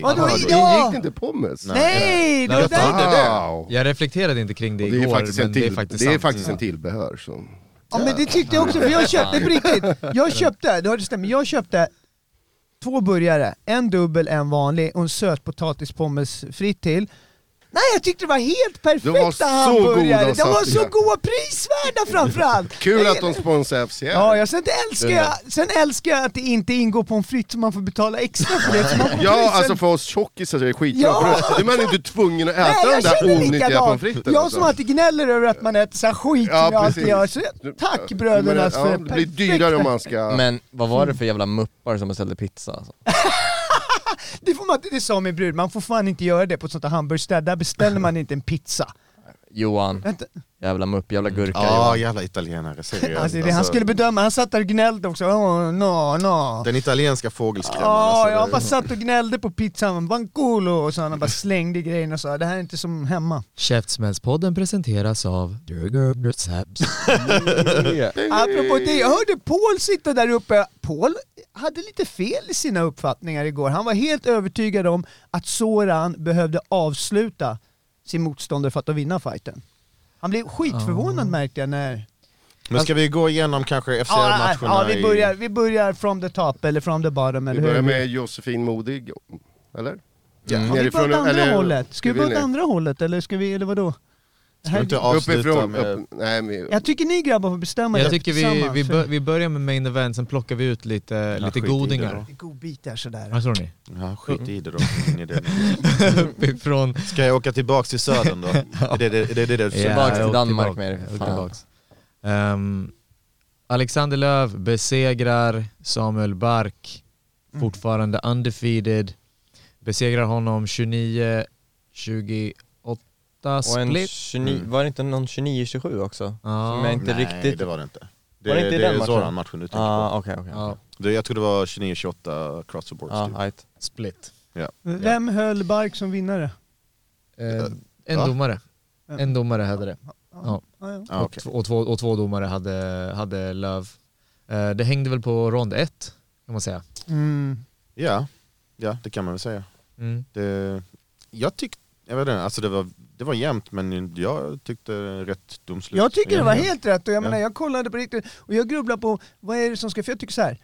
Vadå,
Jaha,
idag?
Ingick det inte pommes?
Nej, det var
Jag
där
trodde
Wow.
Jag reflekterade inte kring det
Och det är
igår,
faktiskt en
men det är
till,
faktiskt
det är
sant.
faktiskt en tillbehör som...
Ja men det tyckte jag också, för jag köpte, på riktigt, jag köpte, det har det stämmer, jag köpte två burgare, en dubbel, en vanlig och en sötpotatispommes fritt till. Nej jag tyckte det var helt perfekta
De var så
hamburgare,
goda
de var så
satsningar.
goda, prisvärda framförallt!
Kul
Jag
att de sponsrar FCR!
Ja, jag, sen, älskar jag, sen älskar jag att det inte ingår pommes frites så man får betala extra för det. Så man får
Ja,
prisen-
alltså för oss tjockisar så är det skitbra.
Ja.
För då är man inte tvungen att
Nej,
äta
jag
den där
känner
onyttiga pommes
likadant!
fritesen. alltså.
Jag som alltid gnäller över att man äter så här skit
Ja,
som jag alltid
precis.
gör. Så, tack
Men,
brödernas
ja,
för
Det blir
perfekta-
dyrare om man ska...
Men vad var det för jävla muppar som beställde pizza alltså?
Det, får man, det sa min brud, man får fan inte göra det på ett sånt här hamburgerställe. Där beställer man inte en pizza.
Johan,
Vänta.
jävla mupp, jävla gurka
Ja,
Johan.
jävla italienare, seriöst.
Alltså, det, han skulle bedöma, han satt där och gnällde också. Oh, no, no.
Den italienska fågelskrämman.
Ja,
alltså,
jag
det-
bara satt och gnällde på pizzan, vanculo och så han bara slängde grejerna och sa det här är inte som hemma.
Käftsmällspodden presenteras av
Apropå det, jag hörde Paul sitta där uppe. Paul hade lite fel i sina uppfattningar igår. Han var helt övertygad om att Soran behövde avsluta sin motståndare för att vinna fighten. Han blev skitförvånad märkte jag när
Men ska vi gå igenom kanske
Ja,
FCR-matcherna?
ja, vi,
i-
börjar, vi börjar from the top eller from the bottom
Vi
eller hur?
börjar med Josefin Modig, eller?
Ja, vi börjar åt andra hållet. Ska vi börja åt
ner?
andra hållet eller ska vi, eller vadå?
Ska vi inte avsluta
Uppifrån,
med...
upp, nej men...
Jag tycker ni grabbar får bestämma
Jag
det
tycker vi,
tillsammans.
vi, bör, vi börjar med main event, sen plockar vi ut lite, lite
skit i det
godingar.
Det är godbit där sådär.
Vad tror ni?
Ja, skit i det då. Ingen idé.
Uppifrån...
Ska jag åka tillbaks till södern då? Är det det, är det, det, du försöker-
Tillbaks
jag
till
åker
Danmark
tillbaka.
med det, för
Jag åker
fan.
tillbaks. Ehm, Alexander Löv besegrar Samuel Bark, fortfarande undefeated. Besegrar honom 29-28
Och en
split.
29, var det inte någon 29-27 också?
Ja.
Som jag inte
Nej,
riktigt...
det var det inte. Det,
Var det inte i
det
den
är
matchen?
Zoran-matchen du tänker
Ah, okej, okej. Ah,
Ja,
på. Det, jag tror det var 29-28 cross the board.
Ja,
typ.
ajt.
split.
Vem höll Bark som vinnare?
Eh, en
Va?
domare. En domare hade det.
Ja, ja.
Ja, okej.
Och, och, två, och två domare hade, hade Löv. Eh, det hängde väl på rond ett, kan man säga.
Mm.
ja. ja, det kan man väl säga.
Mm.
Det, jag tyckte, jag vet inte, alltså det var, det var jämnt men jag tyckte rätt domslut.
Jag tycker det var
Ja.
helt rätt och jag
Ja.
menar jag kollade på riktigt och jag grubblar på vad är det som ska, för jag tycker så här.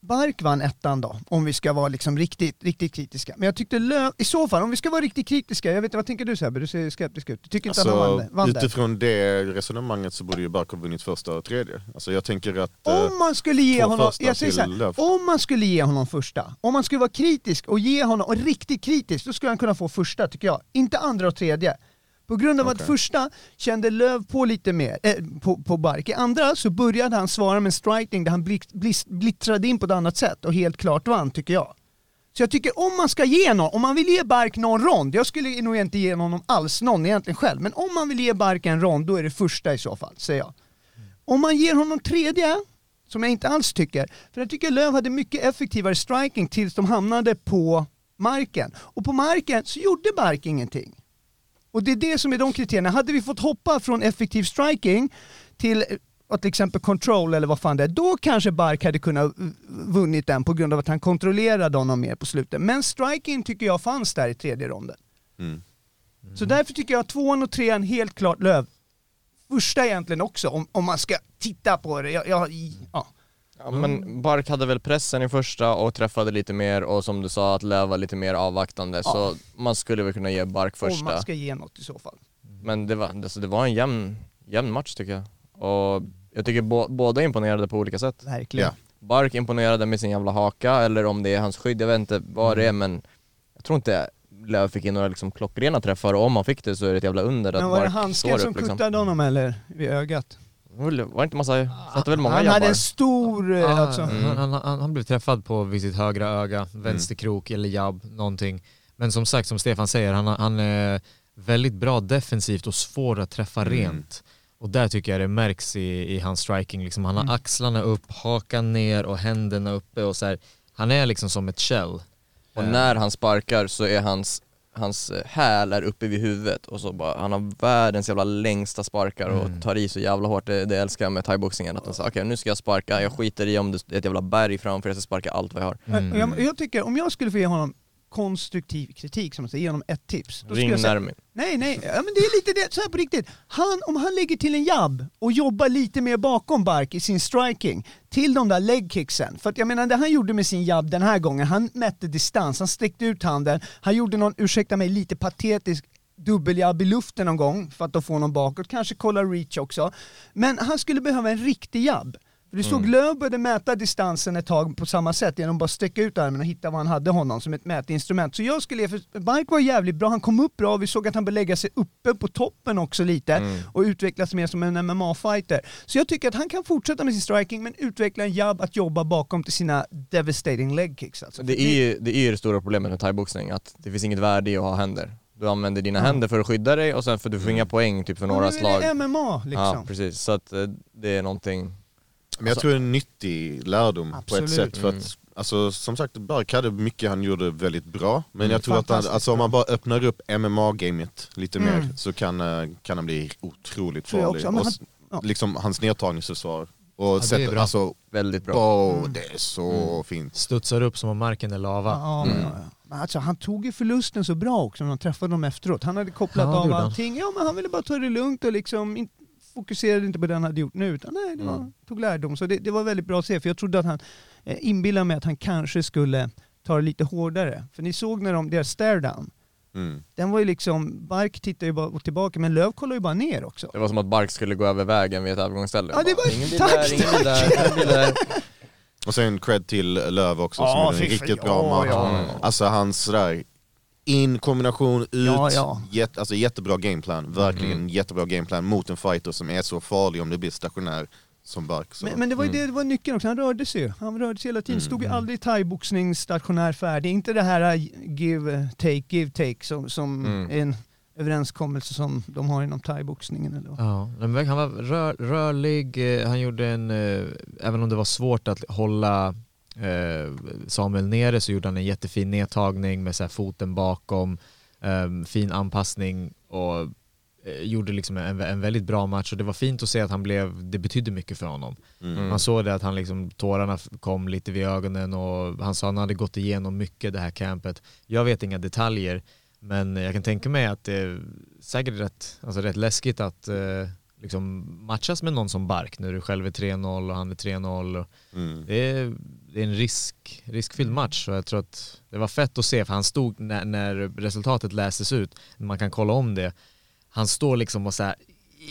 Bark vann ettan då, om vi ska vara liksom riktigt, riktigt kritiska. Men jag tyckte Löv, i så fall, om vi ska vara riktigt kritiska, jag vet inte, vad tänker du Sebbe? Du ser skeptisk ut. Du tycker inte att han
Alltså,
vann, vann det?
utifrån det resonemanget så borde ju Barkov vunnit första och tredje. Alltså jag tänker att... eh,
Om man skulle ge
två
honom,
första
jag säger så
till Löv.
här, om man skulle ge honom första, om man skulle vara kritisk och ge honom, och riktigt kritisk, då skulle han kunna få första tycker jag. Inte andra och tredje. På grund av att
Okej.
första kände Löv på lite mer, eh, på, på Bark. I andra så började han svara med en striking där han blixt, blist, blittrade in på ett annat sätt och helt klart vann tycker jag. Så jag tycker om man ska ge någon, om man vill ge Bark någon rond, jag skulle nog inte ge honom alls någon egentligen själv, men om man vill ge Bark en rond då är det första i så fall, säger jag. Om man ger honom tredje, som jag inte alls tycker, för jag tycker Löv hade mycket effektivare striking tills de hamnade på marken. Och på marken så gjorde Bark ingenting. Och det är det som är de kriterierna. Hade vi fått hoppa från effektiv striking till eh, till exempel control eller vad fan det är, då kanske Bark hade kunnat eh, vunnit den på grund av att han kontrollerade honom mer på slutet. Men striking tycker jag fanns där i tredje ronden.
Mm.
Så därför tycker jag tvåan och trean helt klart Löv. Första egentligen också, om, om man ska titta på det. Jag, jag, ja.
Ja, men Bark hade väl pressen i första och träffade lite mer och som du sa att Löv var lite mer avvaktande så man skulle väl kunna ge Bark
Om
första.
man ska ge något i så fall.
Men det var, alltså, det var en jämn, jämn match tycker jag. Och jag tycker bå- båda imponerade på olika sätt.
Verkligen.
ja.
Bark imponerade med sin jävla haka eller om det är hans skydd, jag vet inte vad det är men jag tror inte Löv fick in några liksom klockrena träffar och om han fick det så är det ett jävla under att
Men var det
Bark
handsken
står
som
upp, liksom.
kuttade honom eller? Vid ögat?
Var det inte massa, satte väl många
han hade
jabbar?
en stor... eh,
Ah,
Alltså,
han, han, han, han blev träffad på vid sitt högra öga, vänsterkrok eller jabb, någonting. Men som sagt, som Stefan säger, han, han är väldigt bra defensivt och svår att träffa rent. Och där tycker jag det märks i, i hans striking. Liksom, han har axlarna upp, hakan ner och händerna uppe. Och så här, han är liksom som ett shell.
Och när han sparkar så är hans, hans eh, häl är uppe vid huvudet och så bara, han har världens jävla längsta sparkar och tar i så jävla hårt. Det, det älskar jag med thaiboxningen, att han säger okej nu ska jag sparka, jag skiter i om det är ett jävla berg framför, jag ska sparka allt vad jag har.
Och Jag, jag tycker, om jag skulle få ge honom konstruktiv kritik, som man säger, ge honom ett tips. Då skulle
Ring
jag säga,
Nermin.
nej, nej, ja, men det är lite det, så här på riktigt. Han, om han lägger till en jabb och jobbar lite mer bakom Bark i sin striking, till de där legkicksen. För att jag menar, det han gjorde med sin jabb den här gången, han mätte distans, han sträckte ut handen, han gjorde någon, ursäkta mig, lite patetisk dubbeljabb i luften någon gång för att då få någon bakåt, kanske kolla reach också. Men han skulle behöva en riktig jabb. För du såg
Mm.
Lööf började mäta distansen ett tag på samma sätt genom att bara sträcka ut armen och hitta vad han hade honom som ett mätinstrument. Så jag skulle ge, för Bark var jävligt bra, han kom upp bra, vi såg att han började lägga sig uppe på toppen också lite
Mm.
och utvecklas mer som en MMA-fighter. Så jag tycker att han kan fortsätta med sin striking men utveckla en jabb att jobba bakom till sina devastating leg kicks alltså.
Det är, ju, det är ju det stora problemet med thaiboxning, att det finns inget värde i att ha händer. Du använder dina händer för att skydda dig och sen för du får inga poäng typ för några
Mm. Men nu
slag.
är det MMA liksom.
Ja precis, så att eh, det är någonting
Men jag tror det är en nyttig lärdom på
Alltså- Absolut.
ett sätt. För att,
Mm.
alltså, som sagt, Bark hade mycket han gjorde väldigt bra. Men jag tror att han,
Mm. Fantastiskt Mm.
alltså, om man bara öppnar upp MMA-gamet lite mer så kan, eh, kan han bli otroligt
Tror jag
farlig.
också. Men
Och
han-
s-
ja.
liksom, hans nedtagningsförsvar. Och
det är
sättet,
bra.
alltså,
väldigt bra.
wow, det är så fint.
Studsar upp som om marken är lava.
Ja, ja,
mm.
ja. Men Alltså, han tog ju förlusten så bra också när han träffade dem efteråt. Han hade kopplat
Ja, det
av
gjorde han.
allting. Ja, men han ville bara ta det lugnt och liksom in, fokuserade inte på det han hade gjort nu. Utan nej, det var,
Mm.
tog lärdom. Så det, det var väldigt bra att se. För jag trodde att han eh, inbillade mig att han kanske skulle ta det lite hårdare. För ni såg när de, deras stare down.
Mm.
Den var ju liksom, Bark tittar ju bara tillbaka men Löv kollar ju bara ner också.
Det var som att Bark skulle gå över vägen vid ett övergångsställe.
Ja, det
Bara,
var-
ingen bil
tack,
där, ingen bil där, ingen bil där.
Och sen cred till Löv också som
Ja,
gjorde en
fy-
riktigt
ja,
bra match.
ja,
Alltså hans sådär, in, kombination, ut,
Ja, ja.
Jätte, alltså jättebra gameplan. Verkligen jättebra gameplan mot en fighter som är så farlig om du blir stationär som Bark. Så.
Men, men det var ju det, det var nyckeln också, han rörde sig ju. Han rörde sig hela tiden, stod ju aldrig i thaiboxning stationär färdig. Inte det här eh, give take, give take som, som är en överenskommelse som de har inom thaiboxningen. Eller vad.
Ja, men verkligen, han var rör, rörlig, eh, han gjorde en, eh, även om det var svårt att hålla eh, Samuel nere så gjorde han en jättefin nedtagning med så här foten bakom, eh, fin anpassning och eh, gjorde liksom en, en väldigt bra match och det var fint att se att han blev, det betydde mycket för honom. Man såg det att han liksom, tårarna f- kom lite vid ögonen och han sa att han hade gått igenom mycket det här campet. Jag vet inga detaljer men jag kan tänka mig att det är säkert rätt, alltså rätt läskigt att eh, liksom matchas med någon som Bark när du själv är 3-0 och han är 3-0. och
Mm.
Det är, det är en risk, riskfylld
Mm.
match så jag tror att det var fett att se för han stod när, när resultatet läses ut, man kan kolla om det, han står liksom och så här,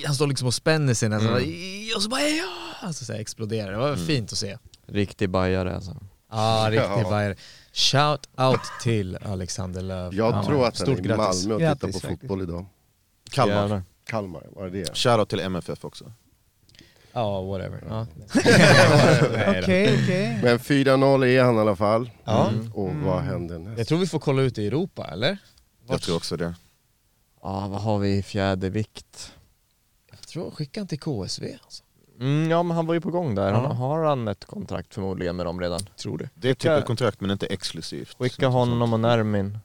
han står liksom och spänner sig nästan
Mm.
och så bara ja, alltså så här exploderar. Det var fint att se.
Riktig bajare alltså.
Ah, riktigt
Ja.
ja. Shout out till Alexander Löv.
Jag
Ja,
tror att han
stort
är i
grattis.
Malmö och tittar på
Grattis, faktiskt.
fotboll idag.
Kalmar.
Jävlar.
Kalmar, var det det?
Shoutout till MFF också.
Ja, whatever. Ja. Nej
Okej,
då.
okej.
Men 4-0 är han i alla fall.
Ja.
Och vad händer
Mm.
näst?
Jag tror vi får kolla ut i Europa, eller?
Jag tror också det.
Ja, vad har vi i fjädervikt?
Jag tror skicka han till KSV. Alltså.
Mm, ja, men han var ju på gång där.
Ja.
Han, har han ett kontrakt förmodligen med dem redan? Tror det.
Det är typ ett kontrakt men inte exklusivt.
Skicka honom och Nermin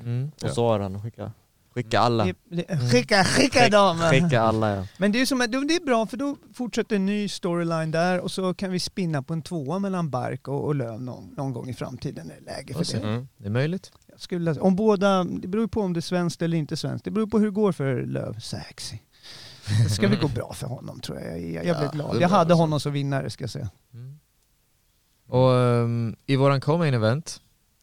Mm.
och Soran. Skicka, skicka alla.
Mm. äh, Skicka, skicka dem!
Mm. Skicka alla ja.
Men det är, ju som, det är bra för då fortsätter en ny storyline där och så kan vi spinna på en tvåa mellan Bark och, och Löv någon, någon gång i framtiden. när Det är läge för det.
Mm.
Det är möjligt.
Jag skulle, läsa- om båda, det beror ju på om det är svenskt eller inte svenskt. Det beror på hur det går för Löv. Sexy. Det ska väl gå bra för honom tror jag. Jag, jag blev glad. Jag hade honom som vinnare ska jag säga.
Och ehm, i våran co-main event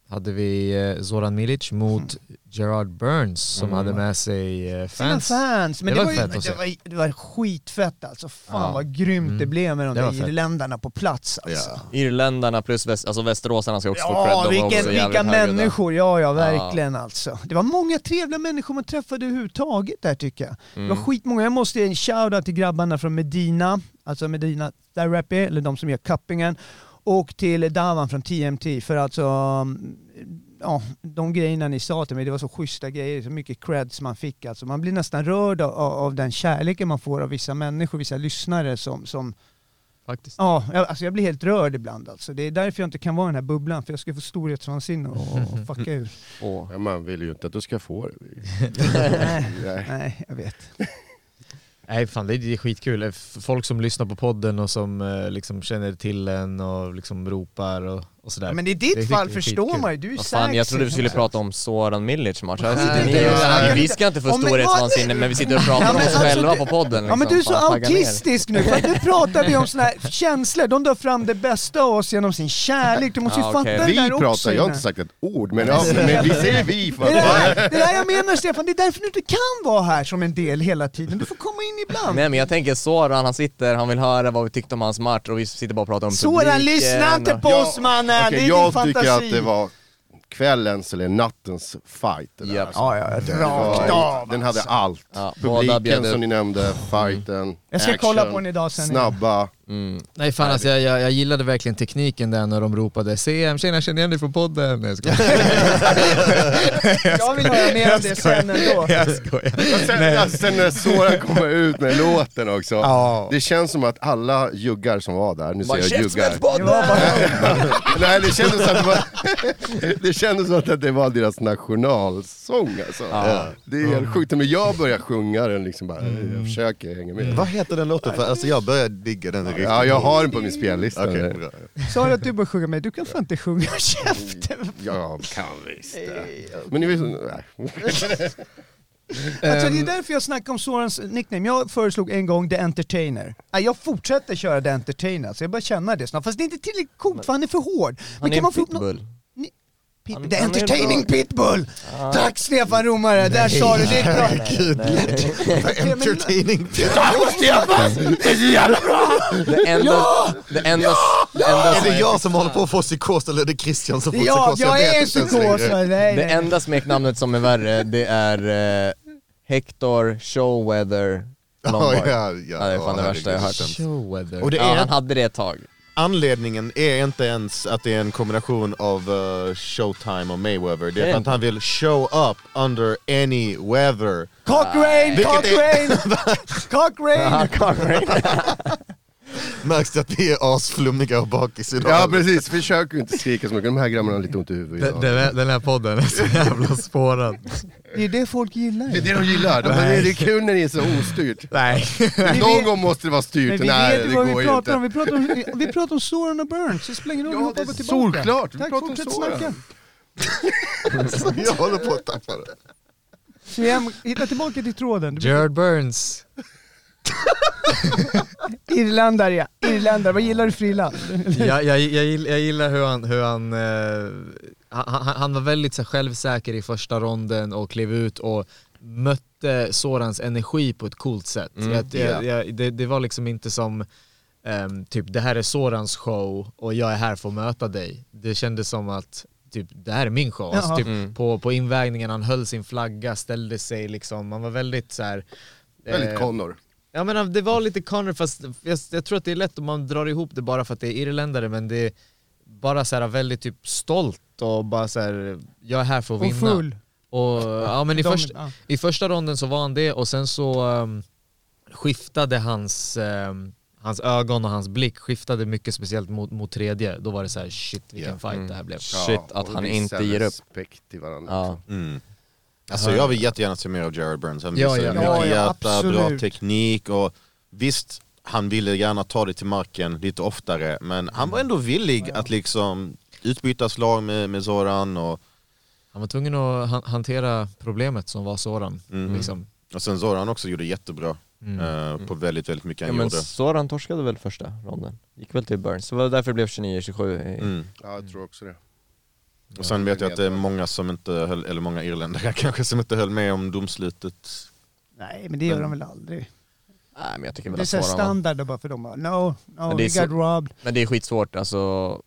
hade vi eh, Zoran Milic mot Gerard Burns som hade med sig eh,
Sina
Mm. fans.
fans. Men
Det
det,
var
var,
fett
ju,
att se.
det, var, det var skitfett alltså. Fan
Ja.
vad grymt det
Mm.
blev med de
Det var
där
fett.
irländarna på plats alltså.
Ja.
Irländarna plus väst, alltså västeråsarna ska också få cred.
Ja,
De var också
vilken, vilka
jävligt högljudda.
människor. Ja, ja, verkligen alltså. Det var många trevliga människor man träffade överhuvudtaget där tycker jag. Det
Mm.
var skitmånga. Jag måste ge en shoutout till grabbarna från Medina, alltså Medina Therapy, eller de som gör cuppingen, och till Davan från TMT för alltså mm, Ja, de grejerna ni sa till mig, det var så schyssta grejer, så mycket creds man fick. Alltså, man blir nästan rörd av, av den kärleken man får av vissa människor, vissa lyssnare som, som
Faktiskt.
Ja, jag, alltså jag blir helt rörd ibland alltså. Det är därför jag inte kan vara i den här bubblan, för jag ska få storhetsvansinne och, och fucka ur.
Åh.
Ja, man vill ju inte att du ska få det.
nej,
Nej.
nej, jag vet.
Nej fan det är- det är skitkul. Eh, f- Folk som lyssnar på podden och som eh, liksom känner till en och liksom ropar och, och sådär.
Ja, men i
Det är
ditt fall
skitkul,
förstår
skitkul.
man ju, du är
Vad fan, jag
sexy.
trodde vi skulle prata om Soran Milic match. Här
Nej,
sitter
det
ni
är
och
så-
säger vi ska inte få
Ja, men vad-
storhetsvansinne men vi sitter och pratar
Ja,
om
men
oss
alltså,
själva
du-
på podden liksom.
Ja men du är så
Fan, tagga ner.
autistisk nu, för att nu pratar vi om såna här känslor, de drar fram det bästa av oss genom sin kärlek, du måste ju
Ja,
fatta
okej.
det
Vi
där
pratar,
också.
jag har inte sagt ett ord, men, ja, men vi säger vi för
Det är det,
att...
här, det är det här jag menar Stefan, det är därför du inte kan vara här som en del hela tiden, du får komma in ibland.
Nej men jag tänker Soran, han sitter, han vill höra vad vi tyckte om hans match och vi sitter bara och pratar om
Soran,
publiken
lyssna inte
och-
på oss mannen, det
Okej,
är din
jag
fantasi.
tycker att det var kvällens eller nattens fight. Det där.
Japp.
Ja, ja, ett
Det var-
rakt av.
Den hade allt.
Ja, båda bjöd
Publiken
upp. Mm.
som ni nämnde, fighten,
Jag ska
action,
kolla på den idag sen.
Snabba.
Nej fan alltså, jag, jag, jag gillade verkligen tekniken där när de ropade CM, tjena känner igen dig från podden. Nej, jag skojar.
Jag vill höra mer av det sen ändå.
jag skojar.
Och Sen, alltså, sen när Soran kommer ut med låten också.
Ja.
Det känns som att alla juggar som var där, nu
Bara,
säger jag juggar.
Det var bara,
Nej, det kändes som att det var, det kändes som att det var deras nationalsång alltså. Det är helt sjukt. Men jag börjar sjunga den liksom bara, jag försöker hänga med.
Vad heter den låten? För alltså jag börjar digga den riktigt. Mm.
Ja, jag har den på min spellista.
Okej, bra.
sa du att du började sjunga med? Du kan fan inte sjunga, käften!
Jag kan visst det. Men ni vet, nej.
Alltså, det är därför jag snackar om Sorans nickname. Jag föreslog en gång The Entertainer. Nej, Jag fortsätter köra The Entertainer, så jag börjar känna det snart. Fast det är inte tillräckligt coolt för han är för hård. Men
Han är
kan
en
man få upp nå-
pitbull.
Pitbull.
Han-
The
han är
entertaining
bra.
pitbull! Tack Stefan Romare, där sa du ditt bra.
Gud, entertaining.
Det enda, det enda, det enda,
Är det
smek-
Alltså, jag som håller på att få psykos eller är det Christian som får
Ja,
psykos?
jag
vet
är en
inte ens
psykos.
längre.
Nej, nej.
det enda smeknamnet som är värre det är eh, Hector Showweather
Ja,
Lombard.
ja, ja.
Ja, det är fan det
Ja,
värsta jag har
herregud.
hört.
Showweather.
Och det
Ja, han
är,
hade det ett tag.
anledningen är inte ens att det är en kombination av eh, Showtime och Mayweather. Det är för att han vill show up under any weather.
Cochrane,
Vilket är-
Cochrane! Cochrane!
Märks det att vi är asflummiga och bakis idag?
Ja precis, försök ju inte skrika så mycket. De här grabbarna har lite ont i huvudet
Den,
idag.
den, här, den här podden är så jävla spårad.
Det är det folk gillar.
Det är det de gillar. De det är kul när det är så ostyrt.
Nej.
Men vi
Någon
vet-
gång måste det vara
Men
styrt.
vi
Nej,
vet
det
ju vad
går
vi
ju
pratar
inte.
om. Vi pratar om, vi pratar om Soran och Burns. Det spelar ingen roll,
Ja,
vi
det
hoppar
är
bara tillbaka.
solklart. Vi
Tack,
pratar om
fortsätt
Soran.
snacka.
Jag håller på att tappa det.
Svem, hitta tillbaka till tråden. Du-
Jared Burns.
Irländare ja, irländare. Vad gillar du för irland?
Jag, jag, jag, gill- jag gillar hur han... Hur han, eh, han, han- han var väldigt så här, självsäker i första ronden och klev ut och mötte Sorans energi på ett coolt sätt. jag, jag, jag, det, det var liksom inte som ehm, typ det här är Sorans show och jag är här för att möta dig. Det kändes som att typ det här är min show. Alltså,
Jaha.
typ, på, på invägningen han höll sin flagga, ställde sig liksom, han var väldigt så här.
Väldigt
eh,
Connor.
Ja men det var lite Connor fast jag, jag tror att det är lätt om man drar ihop det bara för att det är irländare men det är bara så här väldigt typ stolt och bara så här jag är här för att
Och
vinna.
full.
Och, ja men i,
De-
först,
ja.
i första ronden så var han det och sen så ehm, skiftade hans, ehm, hans ögon och hans blick skiftade mycket speciellt mot, mot tredje. Då var det så här shit vilken
Ja.
fight det
Mm.
här blev.
Shit, att
och
han
visa
inte ger upp.
respekt till varandra.
Ja.
Mm, Alltså jag vill jättegärna se mer av Jared Burns. Han
Ja,
visar
ja.
mycket
Ja, ja,
hjärta, bra
absolut.
teknik och visst, han ville gärna ta det till marken lite oftare men han var ändå villig att liksom utbyta slag med, med Zoran och,
Han var tvungen att han, hantera problemet som var Soran.
Mhm.
Liksom.
och sen Zoran också gjorde jättebra eh, på
Mm.
väldigt, väldigt mycket
Ja,
han
men
gjorde.
Soran torskade väl första ronden? Gick väl till Burns, det var därför det blev 29-27 i-
Mm.
Ja, jag tror också det.
Och sen vet jag att det är många som inte höll, eller många irländare kanske som inte höll med om domslutet.
Nej, men det gör de väl aldrig.
Nej men jag tycker väl
Det är
att
så här
Soran vann.
standard bara för dem. bara, No, no,
det
we
är så-
got robbed.
Men det är skitsvårt alltså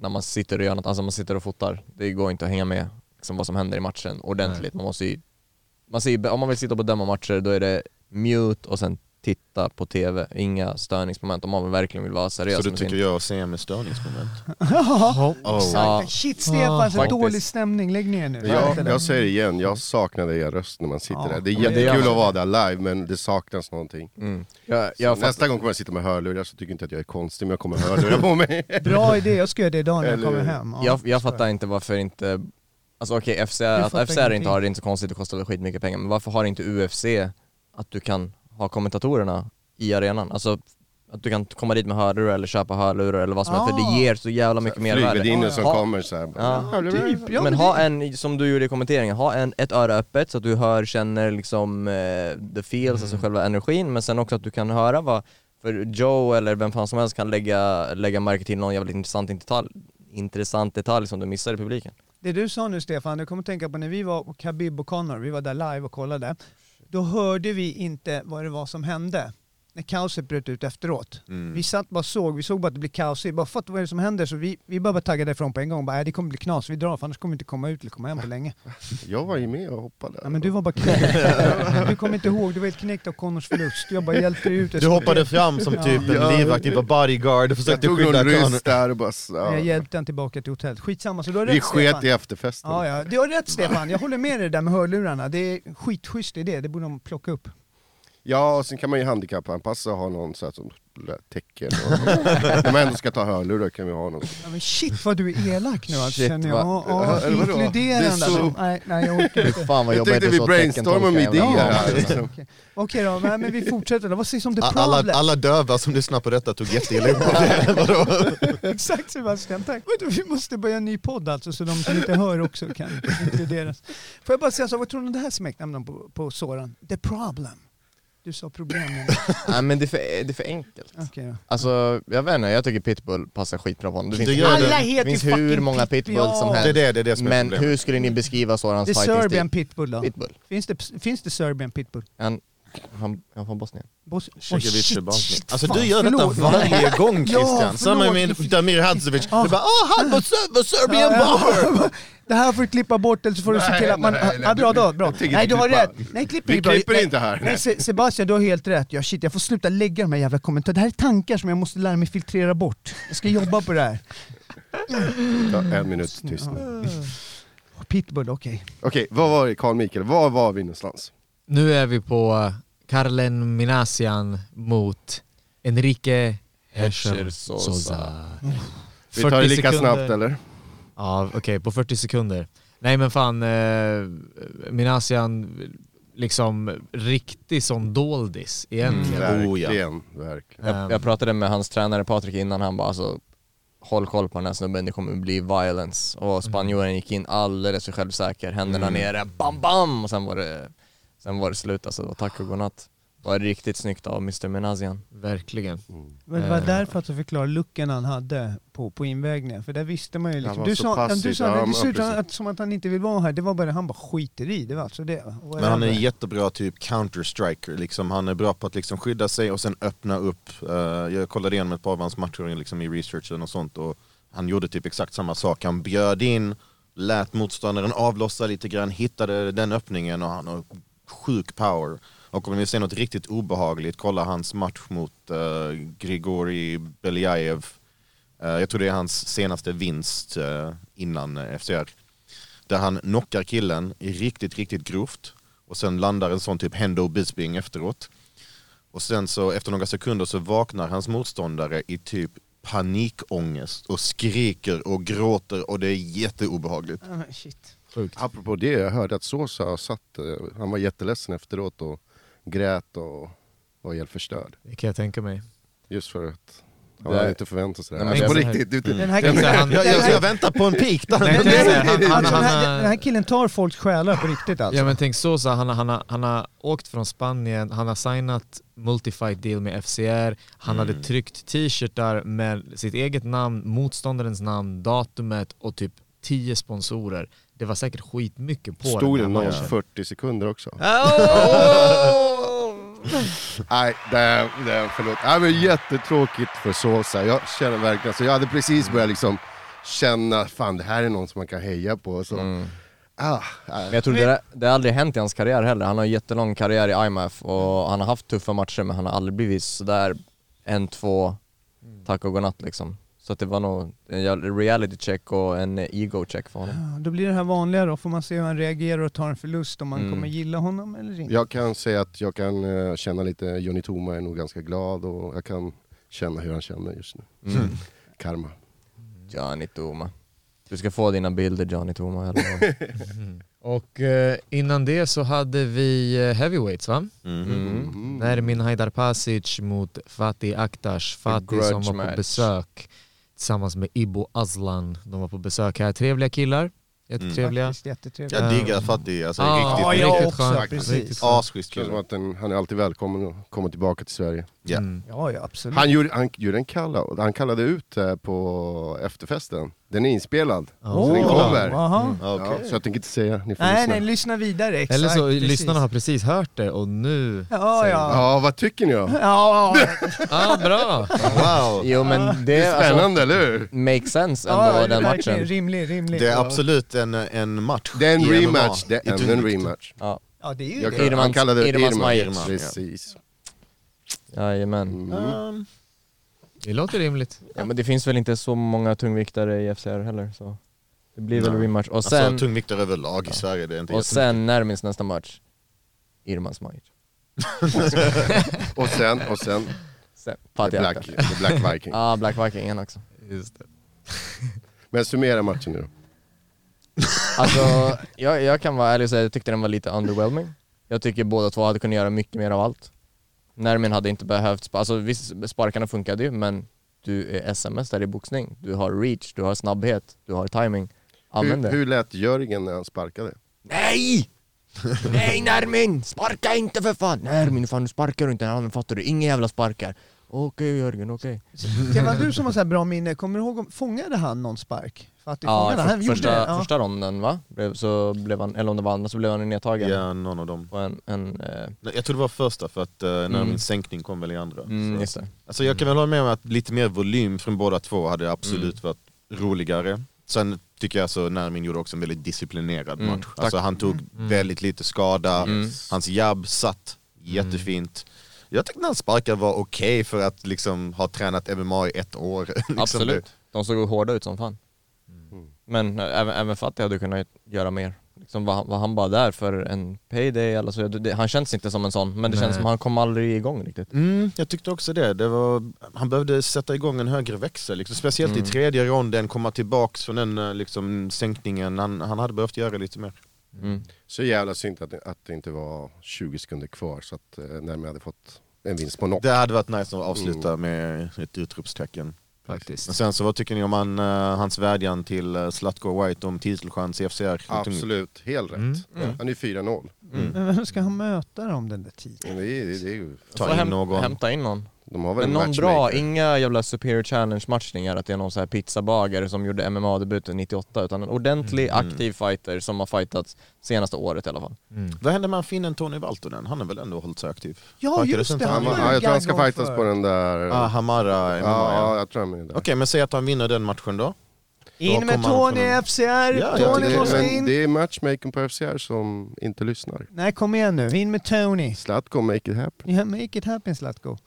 när man sitter och gör något, alltså man sitter och fotar. Det går inte att hänga med liksom, vad som händer i matchen ordentligt. Man måste ju, man ser, ju- om man vill sitta på dömamatcher då är det mute och sen titta på TV, inga störningsmoment om man verkligen vill vara seriös
Så du
med
tycker
sin...
jag ser med störningsmoment?
Ja,
Oh.
Ja.
exakt. Shit Stefan, så
Faktiskt.
dålig stämning. Lägg ner nu.
Jag, jag säger det igen, jag saknade er röst när man sitter
Ja.
där. Det är
Men det gör
jättekul
man.
att vara där live, men det saknas någonting.
Mm. Jag, jag
Så
fatt-
Nästa gång kommer jag sitta med hörlurar, så tycker inte att jag är konstig, men jag kommer ha hörlurar på mig.
Bra idé, jag ska göra det idag när jag
Eller-
kommer hem. Ja,
jag, jag
så är
fattar inte varför inte, alltså okej FCR,
fattar
att FCR
ingenting.
inte har det är inte så konstigt, det kostar väl skitmycket pengar, men varför har inte UFC att du kan ha kommentatorerna i arenan? Alltså att du kan komma dit med hörlurar eller köpa hörlurar eller vad som helst, för
Ah.
det ger så jävla mycket mer värde.
Flygvärdinnor som
Ha-
kommer så här.
Ja.
det. Typ,
men
ja, men
ha
det-
en, som du gjorde i kommenteringen, ha en, ett öra öppet så att du hör, känner liksom eh, the feels, alltså själva energin, men sen också att du kan höra vad, för Joe eller vem fan som helst kan lägga, lägga märke till någon jävligt intressant detalj, intressant detalj som du missar i publiken.
Det du sa nu Stefan, jag kommer att tänka på när vi var på Khabib och Connor, vi var där live och kollade. Då hörde vi inte vad det var som hände när kaoset bröt ut efteråt.
Mm.
Vi satt bara och såg, vi såg bara att det blev kaos. Vi bara fatt vad är det som händer? Så vi, vi bara taggade ifrån på en gång. Bara, "Nej, det kommer bli knas, vi drar för annars kommer vi inte komma ut eller komma hem på länge.
Jag var ju med och hoppade.
Ja, men du var bara knäckt. Du kommer inte ihåg, du var helt knäckt av Connors förlust. Jag bara hjälpte dig ut.
Du hoppade fram som typ en
Ja.
livvakt, typ en bodyguard och
jag
försökte
tog någon
skydda kameran.
ryss där och bara... så-
Men Jag
Ja.
hjälpte han tillbaka till hotellet. Skitsamma, så du har rätt
Vi sket
Stefan.
i efterfesten.
Ja, ja. Du har rätt Stefan, jag håller med dig där med hörlurarna. Det är skitschysst idé, det borde de plocka upp.
Ja, och sen kan man ju handikappanpassa och ha någon så här som täcker. och- Om man ändå ska ta hörlurar kan vi ha någon.
Ja, men shit vad du är elak nu alltså,
Shit,
känner jag.
va?
Ja,
Eller
ja,
vadå? Det
inkluderande.
är så-
Nej, nej, jag orkar inte.
Fan vad
Jag
jobbar
tänkte vi brainstormar om idéer här.
Okej
Liksom.
Okej då, men, men vi fortsätter då. Vad sägs om The Problem?
Alla, alla döva som lyssnar på detta tog jätteilla upp av det. Vadå?
Exakt Sebastian, tack. Vet du, Vi måste börja en ny podd alltså, så de som inte hör också kan inkluderas. Får jag bara säga så, vad tror ni om det här smeknamnet på, på Soran? The Problem. Du sa problemen.
Nej men det är för, det är för enkelt.
Okej då.
Alltså jag vet inte, jag tycker pitbull passar skitbra på honom. Det finns,
Det gör
Alla
det.
det
heter
finns
ju
hur
fucking
många pitbull
pitbull, ja.
som
Det är
helst.
det, det är det som är
Men
problemet.
hur skulle ni beskriva Sorans
Det är Serbian
fighting-stil?
pitbull då?
Pitbull.
Finns det, finns det Serbian pitbull?
Han, han, han från Bosnien.
Bos- Oj,
Cekovic
shit,
är bara-
shit,
Alltså
fan,
du gör detta
förlåt, va?
varje gång Christian.
förlåt.
Samma med Damir Hadzovic.
Ah.
Du bara åh han var ser- var Serbian
Ja, ja.
bomber!
Det här får du klippa bort eller så får du se
Nej,
till att man...
nej, nej,
ja, bra,
du-
då, bra.
jag tycker
Nej, du
inte
har
klippa.
rätt. Nej, klipp
Vi
inte. bra.
klipper
Nej,
inte här.
Nej, Se- Sebastian, du har helt rätt. Ja, shit, jag får sluta lägga de här jävla kommentarerna. Det här är tankar som jag måste lära mig filtrera bort. Jag ska jobba på det här.
Ta en minut tyst nu.
Pitbull, okej.
Oh, Okej, vad var det Carl Mikael, var var vi någonstans?
Nu är vi på eh, Karlen Minasian mot Enrique Herschel
Herschel Sosa.
Sosa.
Vi tar det
40
lika
sekunder.
snabbt eller?
Ja, okej, på 40 sekunder. Nej men fan, eh, Minasian liksom riktig sån doldis egentligen.
Oh, ja.
Mm. Verkligen, verkligen.
Ehm.
Jag, jag pratade med hans tränare Patrik innan, han bara alltså Håll koll på den här snubben, det kommer bli violence. Och spanjoren gick in alldeles för självsäker, händerna nere, bam bam! Och sen var det, sen var det slut alltså, det var tack och godnatt. Det var riktigt snyggt av Mr Menazian.
Verkligen.
Men det var
Eh.
därför att du förklarade luckan han hade på, på invägningen, för där visste man ju
Han
liksom.
var
Du
så
sa,
passiv.
du sa
Ja,
det,
men
det ser ut
precis.
att, som att han inte vill vara här, det var bara det, han bara skiter i det. Var alltså det. Och
Men han är
jag-
jättebra typ counter-striker, liksom. han är bra på att liksom skydda sig och sen öppna upp. Eh, jag kollade igenom ett par av hans matcher liksom, i researchen och sånt och han gjorde typ exakt samma sak. Han bjöd in, lät motståndaren avlossa lite grann, hittade den öppningen och han har sjuk power. Och om ni vill se något riktigt obehagligt, kolla hans match mot eh, Grigori Beliaev. Eh, jag tror det är hans senaste vinst eh, innan eh, FCR där han knockar killen riktigt, riktigt grovt och sen landar en sån typ Hendo Bisping efteråt. Och sen så efter några sekunder så vaknar hans motståndare i typ panikångest och skriker och gråter och det är jätteobehagligt.
Ah, men Shit.
Sjukt.
Apropå det, jag hörde att Sosa satt, eh, han var jätteledsen efteråt och grät och var helt förstörd.
Det kan jag tänka mig.
Just för att han
Det-
hade inte förväntat sig det här.
Nej, men
Alltså på
det-
riktigt, du,
Mm.
Den här
Jag tänkte
killen,
han-
Jag, jag, jag väntar på en peak
Nej, jag
där.
tänkte säga, han- han-
alltså, den, här,
han
den här
har-
killen tar folks själar på riktigt alltså.
Ja men tänk så, så han, han, har- han har åkt från Spanien, han har signat multifight deal med FCR, han
Mm.
hade tryckt t-shirtar med sitt eget namn, motståndarens namn, datumet och typ 10 sponsorer. Det var säkert skitmycket på
stod det
den här matchen.
någons 40 sekunder också. Nej, det, det, förlåt. Nej, men jättetråkigt för Sosa. Jag känner verkligen, så jag hade precis börjat liksom känna, fan det här är någon som man kan heja på. Så. Ah,
Men jag tror det, det har aldrig hänt i hans karriär heller. Han har en jättelång karriär i IMF och han har haft tuffa matcher men han har aldrig blivit sådär en, två, tack och godnatt liksom. Så att det var nog en jävla reality check och en ego check för honom.
Ja, Då blir det här vanliga då, får man se hur han reagerar och tar en förlust, om man
Mm.
kommer gilla honom eller inte.
Jag kan säga att jag kan eh, känna lite, Johnny Toma är nog ganska glad och jag kan känna hur han känner just nu.
Mm.
Karma.
Johnny Toma. Du ska få dina bilder Johnny Toma. Eller
Och eh, innan det så hade vi eh, heavyweights va?
mm.
Nermin Haidarpasic mot Fatih Aktash. Fatih
grudge
som var på
match.
besök tillsammans med Ibo Aslan. De var på besök här. Trevliga killar. Jättetrevliga.
Mm,
Faktiskt jättetrevligt.
Jag diggar Fatih, alltså
Ah,
Ja,
riktigt.
jag
riktigt
också,
skönt.
precis.
Riktigt skönt.
Asschysst
Känns
kille.
som att den, han är alltid välkommen att komma tillbaka till Sverige.
Ja.
Mm.
Ja, ja absolut.
Han gjorde, han gjorde en kalla, han kallade ut eh, på efterfesten. Den är inspelad. Så den
Åh,
kommer.
aha.
Ja, så jag tänker inte säga, ni får
Nej,
lyssna.
nej, lyssna vidare. Exakt,
Eller så
precis.
lyssnarna har precis hört det och nu...
Ja,
säger-
ja.
Ja, vad tycker ni då?
Ja, ja.
Ah, bra!
Wow.
Jo men
Ah. Det
det
är
alltså,
spännande, eller hur?
makes sense ändå
ja, ja,
den
verkligen.
matchen.
Rimlig, rimlig.
Det är absolut en, en match.
Det är en
i MMA.
rematch. Det är ännu en rematch.
Ja.
Ja, det är ju
Jag,
det.
kan- han kallade det
Irmans
Irma.
Irma.
Precis. Mm.
Jajamän.
Um,
Det låter rimligt.
Ja men det finns väl inte så många tungviktare i FCR heller så det blir väl
Nej.
rematch. Och sen,
Alltså tungviktare överlag i Sverige, det är inte
och sen Nermins nästa match, Irman Smajic.
Och sen, och sen,
Sen
the
Fatih
Black,
Aktash.
the Black Viking.
Ja, ah, Black Vikingen också.
Just det.
Men summera matchen nu då.
Alltså, jag, jag kan vara ärlig och säga att jag tyckte den var lite underwhelming. Jag tycker båda två hade kunnat göra mycket mer av allt. Nermin hade inte behövt, spa- alltså visst sparkarna funkade ju men du är SMS där i boxning. Du har reach, du har snabbhet, du har timing. Använd
Hur,
det.
hur lät Jörgen när han sparkade?
Nej! Nej Nermin, sparka inte för fan! Nermin, fan du sparkar inte. Ja men fattar du, inga jävla sparkar. Okej Jörgen, okej.
Det var du som har så här bra minne, kommer du ihåg, om, fångade han någon spark? För att du
Ja,
fångade,
för-
han
första,
gjorde det. Ja.
första ronden va? Blev, så blev han, eller om det var andra så blev han nedtagen.
Ja, någon av dem.
På en, en eh,
Nej, Jag tror det var första för att eh, när
Mm.
min sänkning kom väl i andra.
mm,
så.
just det.
Alltså jag kan väl hålla med om att lite mer volym från båda två
Mm.
hade absolut varit roligare. Sen tycker jag så Nermin gjorde också en väldigt disciplinerad
Mm,
match.
tack.
Alltså han tog väldigt lite skada,
Mm.
hans jabb satt jättefint. Jag tyckte hans sparkar var okej för att liksom ha tränat MMA i ett år. liksom
Absolut. De såg hårda ut som fan. Men eh, även, även Fatih hade kunnat göra mer. Liksom var, han- var han bara där för en payday eller så, det, det, han känns inte som en sån, men det känns som han kom aldrig igång riktigt.
Mm, jag tyckte också det. det var, han behövde sätta igång en högre växel. Liksom, speciellt i tredje ronden, komma tillbaks från den eh, liksom, sänkningen. Han, han hade behövt göra lite mer.
Mm.
Så jävla synd att, det- att det inte var 20 sekunder kvar så att eh, Nermin hade fått en vinst på knock.
Det hade varit nice att avsluta med ett utropstecken. Men
Faktiskt.
sen så vad tycker ni om han, eh, hans vädjan till uh, Zlatko White om titelchans i FCR?
Absolut, helt rätt. Han är 4-0.
Men vem ska han möta då om den där tiden?
Men Det är, det är, det är, ju-
Ta in någon.
Hämta in någon.
de har väl
Men
en
någon
matchmaker.
bra, inga jävla superior challenge matchningar att det är någon så här pizzabagare som gjorde MMA-debuten 98 utan en ordentlig aktiv fighter som har fightats senaste året i alla fall.
Vad hände med finnen Tony Valtonen? Han har väl ändå hållit sig aktiv?
Ja,
Sparkades
just
inte
det,
han?
Han,
var ju
ja, jag tror han ska
gaggång
fightas
för.
på den där...
Ah, Hamara MMA,
ja,
ja.
ja,
Okej,
jag tror han är där.
men säg att han vinner den matchen då.
In med
kommer han
Tony i
från-
FCR,
jag
Tony
tycker-
måste
det,
in.
men det är matchmakern på FCR som inte lyssnar.
Nej kom igen nu, in med Tony.
Zlatko, make it happen.
Yeah, make it happen Zlatko.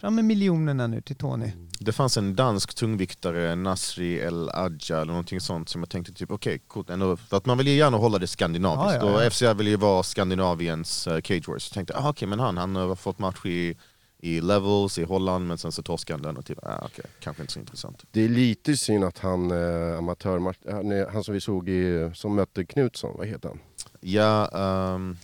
Fram med miljonerna nu till Tony.
Det fanns en dansk tungviktare, Nasri El Adja eller någonting sånt som jag tänkte typ okej, coolt ändå. För att man vill ju gärna hålla det skandinaviskt
Ja, ja, ja.
och FCR vill ju vara Skandinaviens eh, Cage Wars. Så tänkte jag ah, okej men han, han har fått match i, i levels i Holland men sen så torskade han den och typ ah, okej, kanske inte så intressant.
Det är lite synd att han eh, amatörmatch... Han, är- han som vi såg i, som mötte Knutsson, vad heter han?
Ja, ehm,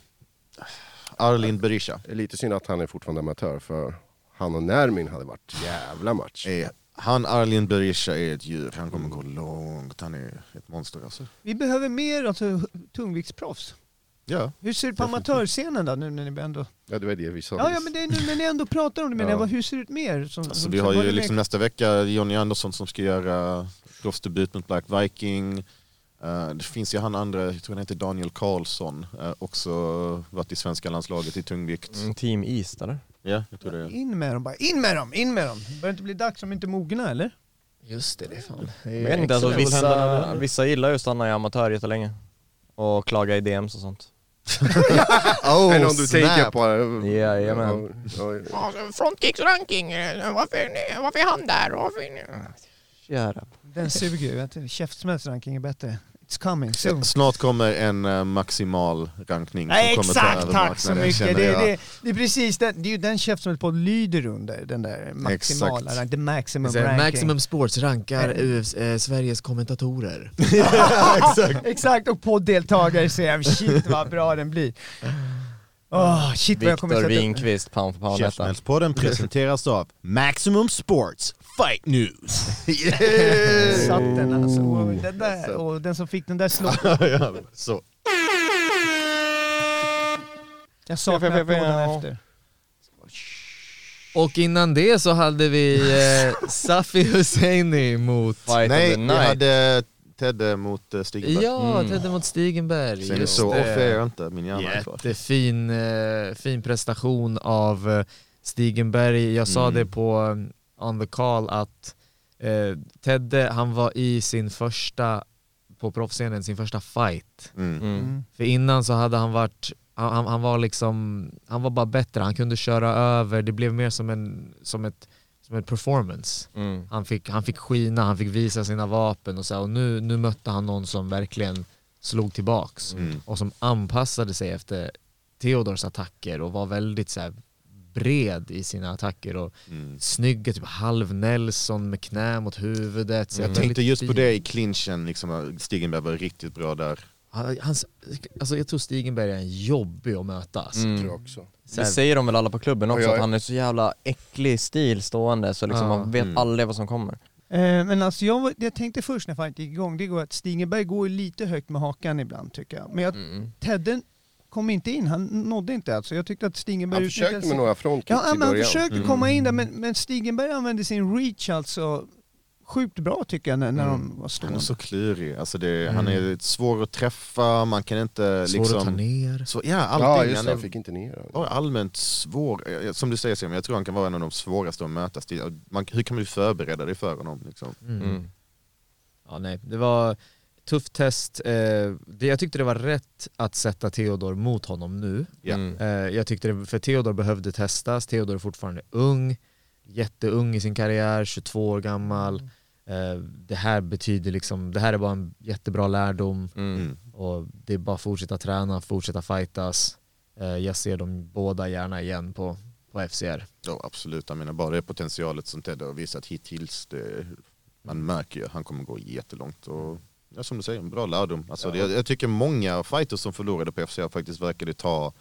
Arlin Berisha
Det är lite synd att han är fortfarande amatör för han och Nermin hade varit jävla match.
är, han Arlin Berisha är ett djur, han kommer gå långt, han är ett monster alltså.
Vi behöver mer alltså, tungviktsproffs.
Ja,
Hur ser det på amatörscenen då nu när ni ändå...
Ja, det var det vi sa.
Ja, ja men det är nu när ni ändå pratar om det, men
Ja.
jag bara, hur ser det ut mer? Som,
alltså
som-
vi har
vad är
ju
det mer-
liksom nästa vecka Jonny Andersson som ska göra proffsdebut mot Black Viking. Eh, det finns ju han andra, jag tror han heter Daniel Karlsson, eh, också varit i svenska landslaget i tungvikt.
Mm, Team East eller?
Ja, jag tror det. är-
In med dem bara, in med dem, in med dem! Börjar det inte bli dags om inte mogna eller?
Just det, det är fan.
Jag vet inte, alltså, vissa, vissa gillar ju att stanna i amatör jättelänge och klaga i DMs och sånt.
Oh,
Är det någon du tänker på?
Jajamän.
Ja, ja.
Frontkicks ranking, eh, varför, varför är han där? Varför,
Kära.
Den suger ju, vet du. käftsmällsranking är bättre. It's coming soon.
Snart kommer en eh, maximal rankning
Nej,
som kommer ta
exakt,
över
tack så
marknaden,
mycket. Det,
känner
det,
jag.
det, är precis den, det är ju den käftsmällspodden lyder under, den där maximala,
Exakt.
rank- the maximum
Så här,
ranking.
Maximum Sports rankar UFC, eh, Sveriges kommentatorer.
Exakt, och podddeltagare säger shit vad bra den blir. Åh, shit vad jag kommer
Viktor
sätta upp-
Winqvist, pound för pound hette han.
Käftsmällspodden presenteras av Maximum Sports Fight News.
Satt den alltså. Och den, där, och den som fick den där slog.
Så.
Jag saknar applåderna efter.
Och innan det så hade vi eh, Safi Husseini mot...
Fight of
Nej,
the
vi
night.
hade Tedde mot eh, Stig Berg.
Ja, Tedde mot Stigenberg.
Sen
just
så off
det.
är jag inte, min hjärna är kvar.
Jättefin eh, fin prestation av eh, Stigenberg. Jag sa det på eh, on the call att eh, Tedde, han var i sin första, på proffsscenen, sin första fight.
Mm.
Mm.
För innan så hade han varit, han, han- han var liksom, han var bara bättre, han kunde köra över, det blev mer som en, som ett, som ett performance.
Mm.
Han fick, han fick skina, han fick visa sina vapen och så här, och nu, nu mötte han någon som verkligen slog tillbaks och som anpassade sig efter Theodors attacker och var väldigt så här bred i sina attacker och snygga, typ halv Nelson med knä mot huvudet. Så
Jag
här,
tänkte
väldigt
Mm. just på
fin.
det i clinchen, liksom, Stigenberg var riktigt bra där.
Han- Hans, alltså jag tror Stigenberg är en jobbig att möta. Alltså.
Mm.
Tror jag också.
Det säger de väl alla på klubben också,
Ja, ja.
att han är så jävla äcklig stil stående så liksom
Ja.
man
Mm.
vet aldrig vad som kommer.
Eh, men alltså jag, var- det jag tänkte först när fighten gick igång, det går att Stingenberg går ju lite högt med hakan ibland tycker jag. Men jag, Tedden kom inte in, han nådde inte alltså. Jag tyckte att Stingenberg
Han försökte
utnyttjade
med
sin-
några frontkick
Ja,
i
men han
början. Mm.
försökte komma in där, men, men Stigenberg använde sin reach alltså sjukt bra tycker jag när, när
Mm.
de var
Han är
Mm.
stående.
så klurig. Alltså det, Han är svår att träffa, man kan inte
Svår
liksom...
att ta ner.
Så, ja, allting.
Ja, just
Han
det.
är
Han fick inte ner honom.
bara allmänt svår. Eh, Som du säger Simon, jag tror han kan vara en av de svåraste att mötas. Det- Man, hur kan man förbereda dig för honom? Liksom?
Mm.
Ja, nej. Det var ett tufft test. Eh, det, jag tyckte det var rätt att sätta Theodor mot honom nu.
Ja.
Mm.
Eh, jag tyckte det, för Theodor behövde testas. Theodor är fortfarande ung, jätteung i sin karriär, 22 år gammal. Eh, det här betyder liksom, det här är bara en jättebra lärdom.
Mm.
Och det är bara att fortsätta träna, fortsätta fightas. Eh, jag ser dem båda gärna igen på, på FCR.
Ja, absolut, jag menar bara det potentialet som Ted har visat hittills, det, man märker ju att han kommer gå jättelångt. Och, ja, som du säger, en bra lärdom. Alltså, det, jag, jag tycker många fighters som förlorade på FCA faktiskt verkade ta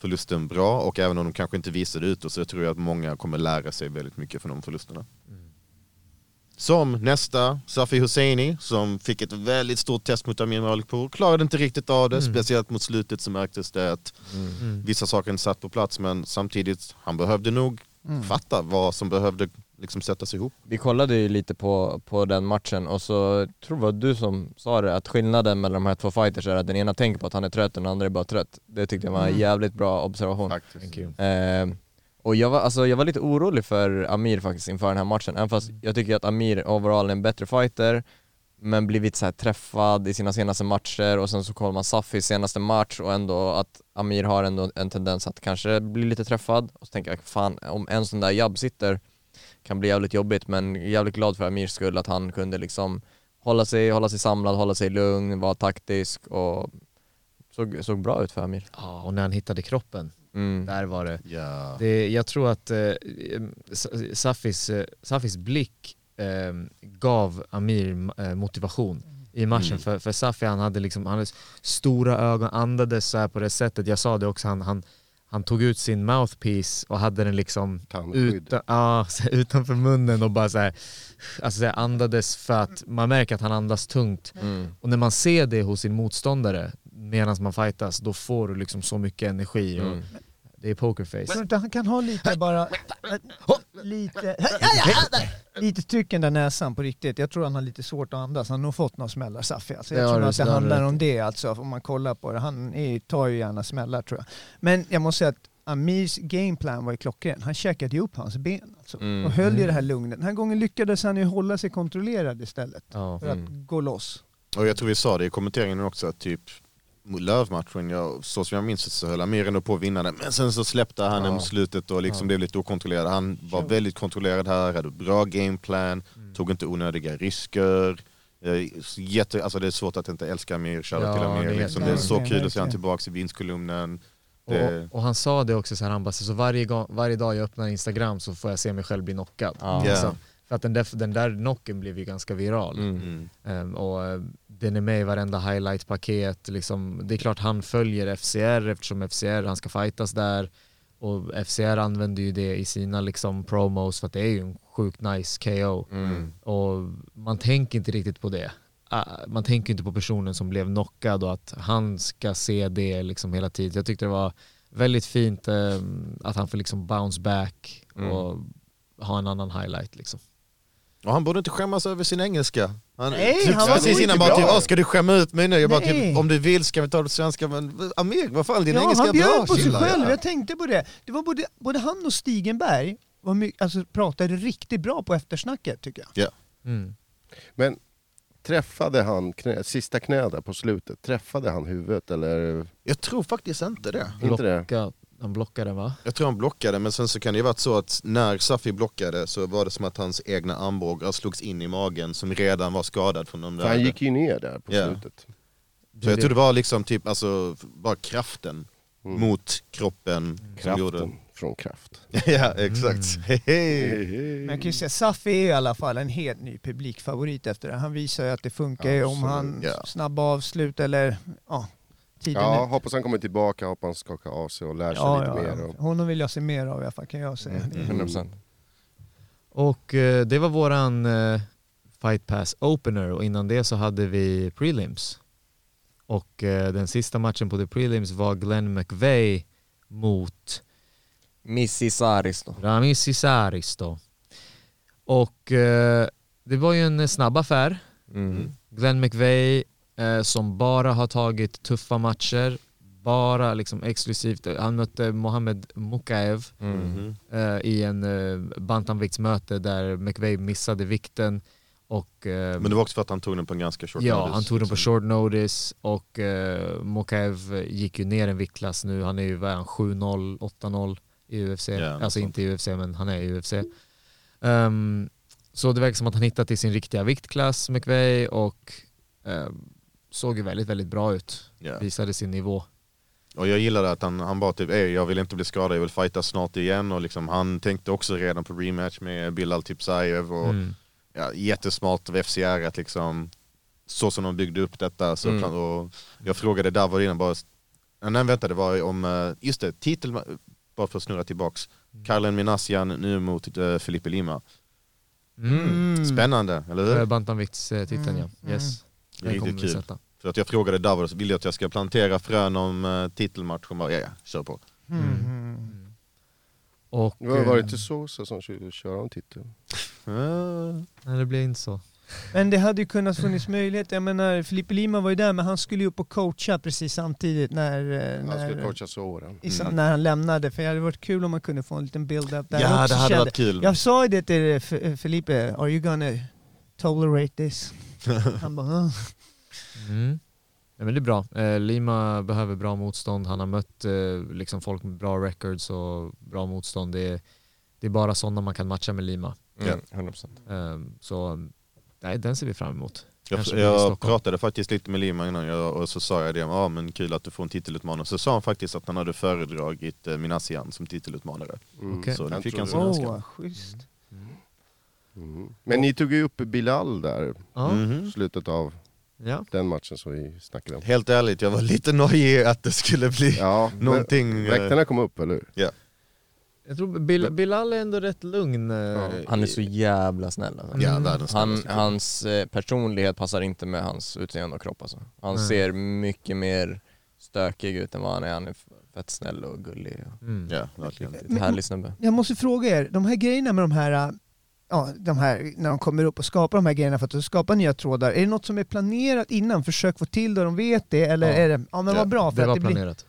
förlusten bra och även om de kanske inte visade ut det så tror jag att många kommer lära sig väldigt mycket från de förlusterna. Som nästa, Safi Hosseini som fick ett väldigt stort test mot Amin Malikpour. Klarade inte riktigt av det, speciellt mot slutet så märktes det att vissa saker inte satt på plats men samtidigt, han behövde nog fatta vad som behövde liksom sättas ihop.
Vi kollade ju lite på, på den matchen och så tror jag det var du som sa det att skillnaden mellan de här två fighters är att den ena tänker på att han är trött och den andra är bara trött. Det tyckte jag var en jävligt bra observation.
Faktiskt.
Eh, och jag var, alltså, jag var lite orolig för Amir faktiskt inför den här matchen, även fast jag tycker att Amir overall är en bättre fighter men blivit så här träffad i sina senaste matcher och sen så kollar man Safis senaste match och ändå att Amir har ändå en tendens att kanske bli lite träffad och så tänker jag fan om en sån där jabb sitter kan bli jävligt jobbigt men jävligt glad för Amirs skull att han kunde liksom hålla sig, hålla sig samlad, hålla sig lugn, vara taktisk och såg, såg bra ut för Amir.
Ja, och när han hittade kroppen,
Mm.
där var det
Ja.
Det, jag tror att eh, S- Safis, eh, Safis blick eh, gav Amir eh, motivation i matchen. För, för Safi han hade, liksom, han hade s- stora ögon, andades så här på det sättet. Jag sa det också, han, han, han tog ut sin mouthpiece och hade den liksom
Tandskydd.
utan, ja, så här utanför munnen och bara så här, alltså så här andades för att man märker att han andas tungt. Och när man ser det hos sin motståndare medan man fightas, då får du liksom så mycket energi. Och,
Mm.
Det är pokerface.
Tror du inte han kan ha lite bara, äh, lite, lite tryck i den där näsan på riktigt. Jag tror han har lite svårt att andas. Han har nog fått några smällar Safi. Alltså,
Det
jag
har
tror
du
att det
snarare
handlar
rätt
om det alltså, om man kollar på det. Han är, tar ju gärna smällar tror jag. Men jag måste säga att Amirs gameplan var ju klockren. Han käkade ju upp hans ben alltså,
Mm.
och höll ju det här lugnet. Den här gången lyckades han ju hålla sig kontrollerad istället
Ja.
för att gå loss.
Och jag tror vi sa det i kommenteringen också, att typ Lövmatchen, jag, så som jag minns det så höll Amir ändå på att vinna den. Men sen så släppte han den mot slutet och liksom blev lite okontrollerad. Han var väldigt kontrollerad här, hade bra gameplan,
Mm.
tog inte onödiga risker. Eh, Jätte, alltså det är svårt att inte älska Amir, köra
Ja,
till Amir.
det
Det
är
är, liksom. det är så
verkligen,
kul att se
verkligen.
honom tillbaka i vinstkolumnen. Det,
Och, och han sa det också, så här, han bara, så varje, gång, varje dag jag öppnar Instagram så får jag se mig själv bli knockad. Liksom.
Ja.
Ja.
För att den där, den där knocken blev ju ganska viral.
mm.
Ehm, och eh, den är med i varenda highlight-paket. Liksom, det är klart han följer FCR eftersom FCR, han ska fightas där. Och FCR använder ju det i sina liksom, promos för att det är ju en sjukt nice KO. Och man tänker inte riktigt på det. Ah, Man tänker inte på personen som blev knockad och att han ska se det liksom hela tiden. Jag tyckte det var väldigt fint eh, att han får liksom bounce back och ha en annan highlight liksom.
Och han borde inte skämmas över sin engelska. Han,
Nej,
typ,
han var
precis innan
skitbra.
bara typ, "Åh, ska du skämma ut mig nu? Jag bara
Nej.
typ, om du vill ska vi ta det på svenska, men Amir, vad fan din
Ja,
engelska
han
är bra.
bjöd på sig
chilla."
själv.
Ja.
Jag tänkte på det. Det var både, både han och Stigenberg var my- alltså, pratade riktigt bra på eftersnacket tycker jag.
Men träffade han knä, sista knä där på slutet, träffade han huvudet eller
Jag tror faktiskt inte det.
inte det?
Blocka, han blockade va?
Jag tror han blockade, men sen så kan det ju varit så att när Safi blockade så var det som att hans egna armbågar slogs in i magen som redan var skadad från de där.
För han gick ju ner där på
Ja.
slutet.
Så jag tror det var liksom typ, alltså, bara kraften
Mm.
mot kroppen. Som gjorde...
Kraften från kraft.
ja, exakt.
Mm.
Hehe.
Men
Mm.
jag kan ju säga, Safi är i alla fall en helt ny publikfavorit efter det. Han visar ju att det funkar ju om han
ja.
snabba avslut eller ja, tiden
Ja,
ut.
hoppas han kommer tillbaka, hoppas han skakar av sig och lär sig
Ja,
lite
ja,
mer.
ja.
Och... Mm,
Honom vill jag se mer av i alla fall kan jag säga.
100%.
Och eh, det var våran eh, Fight Pass Opener och innan det så hade vi prelims. Och eh, den sista matchen på the prelims var Glenn McVeigh mot
Missy Saris då.
Ramis Cesaris då. Och eh, det var ju en snabb affär.
Mm.
Glenn McVeigh eh, som bara har tagit tuffa matcher, bara liksom exklusivt. Han mötte Mohamed Mukaev
Mm.
Mm.
Mm-hmm.
eh, i en eh, bantamviktsmöte där McVeigh missade vikten och eh,
Men det var också för att han tog den på en ganska short
ja,
notice,
han tog den på
liksom.
short notice och eh, Mokaev gick ju ner en viktklass nu. Han är ju vad är han, 7-0, 8-0 i UFC.
Ja, något
alltså
sånt.
inte i UFC men han är i UFC. Ehm, så det verkar som att han hittat till sin riktiga viktklass, McVeigh, och ehm, såg ju väldigt, väldigt bra ut.
Ja.
Visade sin nivå.
Och jag gillade att han, han bara typ, "Ey, jag vill inte bli skadad, jag vill fighta snart igen. Och liksom, han tänkte också redan på rematch med Bilal Tipsaev. Och,
Mm.
ja, jättesmart av FCR att liksom, så som de byggde upp detta. Så
Mm.
kan, och jag frågade Davor innan bara, nej vänta det var ju om, eh, just det, titel, bara för att snurra tillbaks.
Mm.
Karlen Minassian nu mot eh, Felipe Lima.
Mm.
Spännande, eller hur?
Eh, Bantamviktstiteln ja. Yes. Den
Riktigt
kommer vi
kul.
sätta.
För att jag frågade Davor, vill du att jag ska plantera frön om eh, titelmatchen? Bara, ja ja, kör på.
Mm.
Mm.
mm.
Och,
Det var- var det
eh,
inte Sosa som kö- körde om titeln?
Eh,
Nej det blev inte så.
Men det hade ju kunnat funnits möjlighet. Jag menar, Filipe Lima var ju där, men han skulle ju upp och coacha precis samtidigt när, eh,
Han skulle
när,
coacha Soran.
i,
Mm.
sam- när han lämnade. För det hade varit kul om man kunde få en liten build-up där
Ja,
också,
det hade
kände-
varit kul.
Jag sa ju det till eh, F- eh, Felipe, are you gonna tolerate this? Han bara, "Huh."
Mm. Ja, men det är bra. Eh, Lima behöver bra motstånd. Han har mött eh, liksom folk med bra records och bra motstånd. Det är, det är bara sådana man kan matcha med Lima.
Mm, 100%.
Eh, så nej, den ser vi fram emot.
Jag,
Kanske blir det i
jag
Stockholm.
pratade faktiskt lite med Lima innan jag, och så sa jag det, ja men kul att du får en titelutmanare. Så sa han faktiskt att han hade föredragit eh, Minassian som titelutmanare.
Mm.
Okej.
Så nu
Han
fick
trodde
han sin önskan.
det.
åh, schysst.
Mm. Men ni tog ju upp Bilal där,
Ja.
Mhm.
slutet av
Ja.
den matchen som vi snackade om.
Helt ärligt, jag var lite nojig att det skulle bli
Oh. Ja,
någonting... eh,
Väktarna kom upp, eller hur?
Jag tror Bil- Bilal är ändå rätt lugn. eh,
Han är så jävla snäll alltså.
Ja, världens
han,
snällaste.
Hans eh, personlighet passar inte med hans utseende och kropp alltså. Han
Nej.
ser mycket mer stökig ut än vad han är. Han är fett snäll och gullig. Och
Mm.
Ja, verkligen.
en härlig snubbe.
Jag måste fråga er, de här grejerna med de här, äh, ja, de här, när de kommer upp och skapar de här grejerna för att skapa nya trådar, är det något som är planerat innan? Försök få till det, de vet det, eller
Ja.
är det, ja men
Ja,
vad bra, för
Det
att
var
det, blir,
planerat.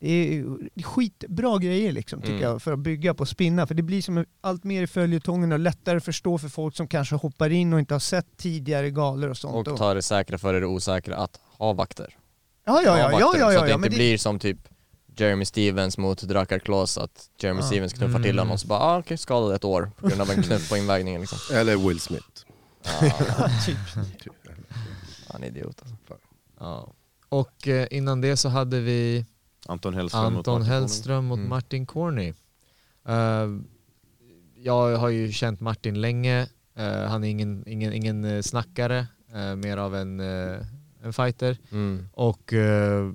det är ju skitbra grejer liksom, tycker
Mm.
jag, för att bygga på och spinna, för det blir som allt mer i följetongen och lättare att förstå för folk som kanske hoppar in och inte har sett tidigare galor och sånt.
Och ta det säkra före det osäkra att ha vakter.
ja, ja,
Ha
ja,
vakter,
ja, ja,
så
ja,
att det
ja,
inte
men det,
blir som typ Jeremy Stevens mot Drakkar Klas att Jeremy
Ah.
Stevens knuffar till
Mm.
honom och så bara ah, okej, skadad ett år på grund av en knuff på invägningen liksom.
Eller Will Smith.
Ah,
Typ.
han är idiot alltså.
Ja. Och eh, innan det så hade vi
Anton Hellström mot
Anton
Martin
Hellström mot
Mm.
Martin Corny. Eh, jag har ju känt Martin länge. Eh, han är ingen, ingen, ingen eh, snackare, eh, mer av en, eh, en fighter.
Mm.
Och eh,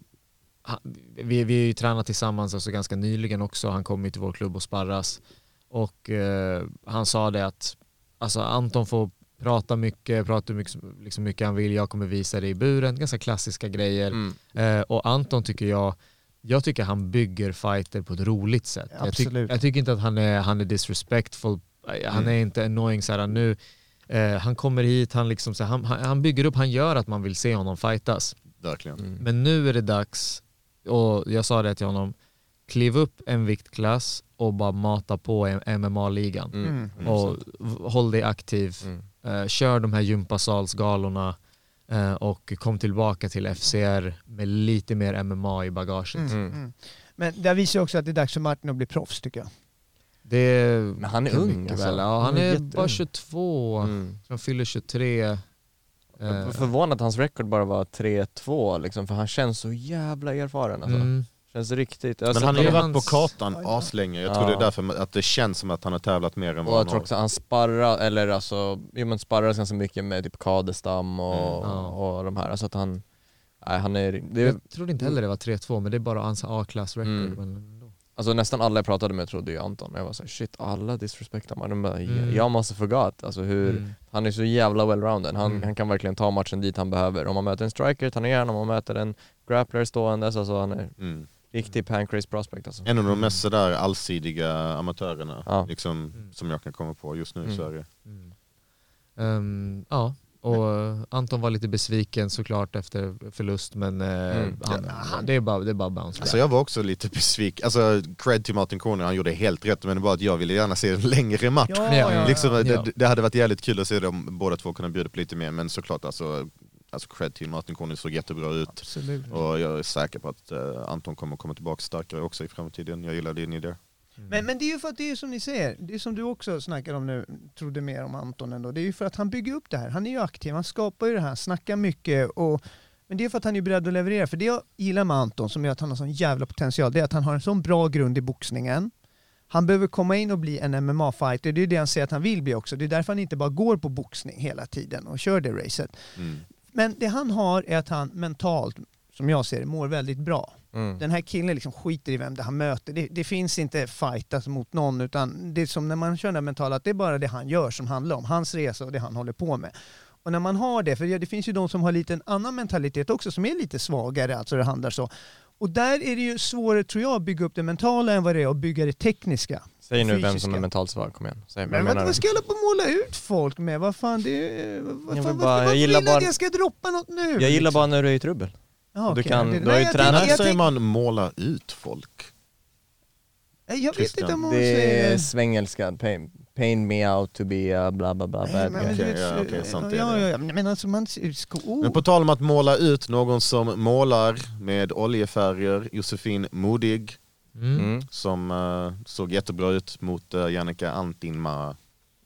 han, vi, vi har ju tränat tillsammans alltså ganska nyligen också. Han kom ju till vår klubb och sparras. Och eh, han sa det att alltså Anton får prata mycket, prata hur mycket, som- liksom mycket han vill. Jag kommer visa det i buren. Ganska klassiska grejer.
Mm.
Eh, och Anton tycker jag, jag tycker han bygger fighter på ett roligt sätt. Jag, tyck-
Absolut.
jag tycker inte att han är, han är disrespectful, Eh, han är inte annoying så här nu. Eh, han kommer hit, han, liksom, så här, han, han, han bygger upp, han gör att man vill se honom fightas.
Verkligen.
Mm.
Men nu är det dags, och jag sa det till honom, kliv upp en viktklass och bara mata på i MMA-ligan.
Mm.
Och v- håll dig aktiv,
Mm.
eh, kör de här gympasalsgalorna eh, och kom tillbaka till FCR med lite mer MMA i bagaget.
mm, mm. Men det visar ju också att det är dags för Martin att bli proffs tycker jag.
Det
Men han är
kan
ung,
mycket
alltså.
väl. Ja,
Han
han
är
är
jätteung.
bara 22,
Mm.
han fyller Eh, 23. eh,
Jag var förvånad att hans record bara var 3-2 liksom, för han känns så jävla erfaren alltså.
mm.
Känns riktigt. Jag har
Men
sett
han har ju
honom-
varit på kartan aslänge. Jag tror
Ja.
det är därför att det känns som att han har tävlat mer än
och
vad
jag
han
tror
har.
också han sparrar, eller alltså, jo men sparras ganska mycket med typ Kadestam och,
Mm, ja.
och de här. Alltså att han, nej han är, det är
Jag trodde inte heller det var 3-2 men det är bara hans A-klass record.
Mm.
Men ändå.
Alltså nästan alla jag pratade med trodde ju Anton. Jag var såhär shit, alla disrespektar man. De bara, mm. Jag måste forgot. Alltså hur,
Mm.
han är så jävla well-rounded. Han, han kan verkligen ta matchen dit han behöver. Om man möter en striker tar han igen, om man möter en grappler ståendes. Alltså han är
Mm.
riktig pancrase prospect alltså.
En av de mest sådär allsidiga amatörerna
Ja. Mm.
liksom, som jag kan komma på just nu i Sverige.
Ehm, ja, och eh, Anton var lite besviken såklart efter förlust men eh, han, han, det, är bara, det är bara bounce back.
Alltså jag var också lite besviken, alltså cred till Martin Corner, han gjorde helt rätt men det var att jag ville gärna se en längre match.
Ja,
Ja, ja.
Liksom,
Ja.
det, det hade varit jävligt kul att se dem båda två kunna bjuda på lite mer men såklart alltså, alltså cred till Martin Corner såg jättebra ut.
Absolut.
Och jag är säker på att eh, Anton kommer komma tillbaka starkare också i framtiden. Jag gillar din idé. Mm.
Men, men det är ju för att det är som ni säger, det är som du också snackar om nu, trodde mer om Anton ändå, det är ju för att han bygger upp det här. Han är ju aktiv, han skapar ju det här, snackar mycket och men det är för att han är beredd att leverera. För det jag gillar med Anton som gör att han har sån jävla potential, det är att han har en sån bra grund i boxningen. Han behöver komma in och bli en MMA-fighter, det är det han säger att han vill bli också. Det är därför han inte bara går på boxning hela tiden och kör det racet. Men det han har är att han mentalt, som jag ser det, mår väldigt bra.
Mm.
Den här killen liksom skiter i vem det han möter. Det, det finns inte fightas mot någon utan det är som när man kör den här mentala att det är bara det han gör som handlar om. Hans resa och det han håller på med. Och när man har det, för det det finns ju de som har lite en annan mentalitet också som är lite svagare, alltså det handlar så. Och där är det ju svårare tror jag att bygga upp det mentala än vad det är att bygga det tekniska.
Säg nu vem som är
Fysiska.
mentalt svag, kom igen. Säg,
Men
vem
vad,
menar du?
vad ska jag hålla på och måla ut folk med? Vad fan, det är... Vad, fan,
vill
varför-
bara- jag
varför
gillar
vill du att
bara-
jag ska droppa något nu?
Jag gillar
liksom?
bara när du är i trubbel.
Ja,
du
Ah, okej,
kan-
det-
du
nej,
har ju
jag
tränat
tänker-
När
jag
säger
tänker-
man måla ut folk?
Jag vet
Christian?
inte om hon
Det
säger...
är svengelska, pain, pain me out to be a bla bla bla
Nej,
bad
men
guy.
du
Okej,
vet, eh,
ja, okej, sant är
ja,
det.
ja, ja, men alltså man... Oh.
Men på tal om att måla ut någon som målar med oljefärger, Josefin Modig,
Mm.
som eh, såg jättebra ut mot uh, Jannica Antinmaa.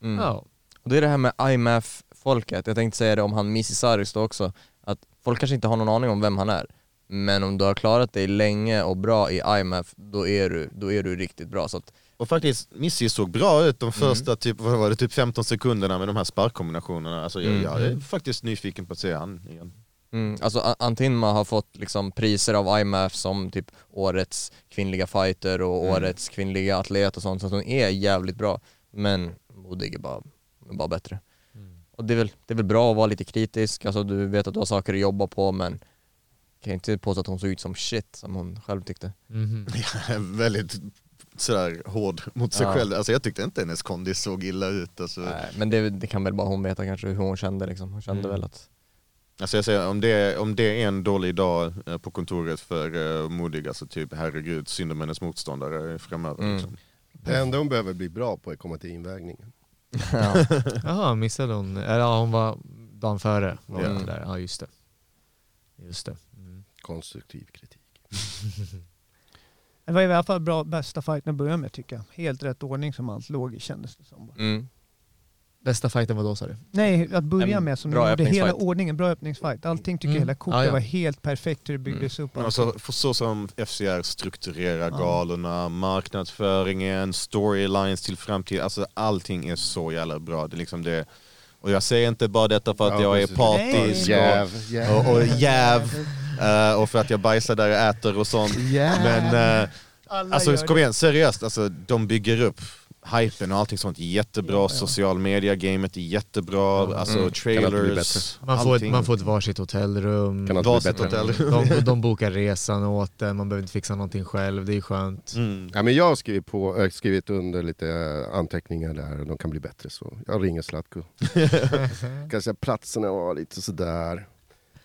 Mm.
Ja.
Och det är det här med IMF-folket, jag tänkte säga det om han Missy Saris då också, att folk kanske inte har någon aning om vem han är, men om du har klarat dig länge och bra i IMF, då är du, då är du riktigt bra. Så att,
Och faktiskt, Missy såg bra ut
Mm.
de första typ, vad var det, typ 15 sekunderna med de här sparkkombinationerna. Alltså, jag, jag är faktiskt nyfiken på att se han igen.
mm, alltså A- Antinma har fått liksom priser av IMF som typ årets kvinnliga fighter och årets kvinnliga atlet och sånt, så att hon är jävligt bra. Men Modig är bara, är bara bättre. Och det är, väl, det är väl bra att vara lite kritisk, alltså du vet att du har saker att jobba på men kan ju inte påstå att hon såg ut som shit som hon själv tyckte.
Mhm.
väldigt sådär hård mot sig
Ja.
själv. Alltså jag tyckte inte hennes kondis såg illa ut. Alltså,
Nej, men det, det kan väl bara hon veta kanske hur hon kände liksom. Hon kände väl att...
alltså jag säger, om det, om det är en dålig dag eh, på kontoret för eh, Modig, alltså typ herregud, synd om hennes motståndare framöver.
Mm.
Liksom.
Det enda hon behöver bli bra på är att komma till invägningen.
Ja.
Jaha, missade hon? Eller ja, hon var dagen före. Var
Ja.
hon inte där. Ja, just det. Just det. Mm.
Konstruktiv kritik.
Det var i alla fall bra, bästa fighten att börja med tycker jag. Helt rätt ordning som allt låg i kändes det som.
Mm.
Bästa fighten var då sa du?
Nej, att börja
En
med som
bra
ni gjorde, hela
öppningsfight.
ordningen, bra öppningsfight. Allting tycker
Mm.
jag, hela kortet
Ja, ja.
var helt perfekt hur det byggdes upp.
Men Alltså, för så som FCR strukturerar galorna, marknadsföringen, storylines till framtiden, alltså allting är så jävla bra. Det är liksom det, och jag säger inte bara detta för att
Ja,
jag är
precis.
partisk
Nej.
och,
Jäv, jäv.
och, och jäv eh, och för att jag bajsar där jag äter och sånt.
Jäv.
Men eh,
Alla
Alltså
gör
kom igen, seriöst. Alltså, de bygger upp hypen och allting sånt. Jättebra. Social media-gamet är jättebra. Alltså
Mm. Kan alltid bli
trailers.
bättre.
Man får, ett,
allting.
man får ett varsitt hotellrum.
Kan alltid bli
Varsitt
bättre.
hotell.
De, de bokar resan åt en, man behöver inte fixa någonting själv, det är skönt.
Mm.
Ja, men jag har skrivit, på, äh, skrivit under lite äh, anteckningar där, de kan bli bättre så. Jag ringer Zlatko. Kanske platserna var lite sådär.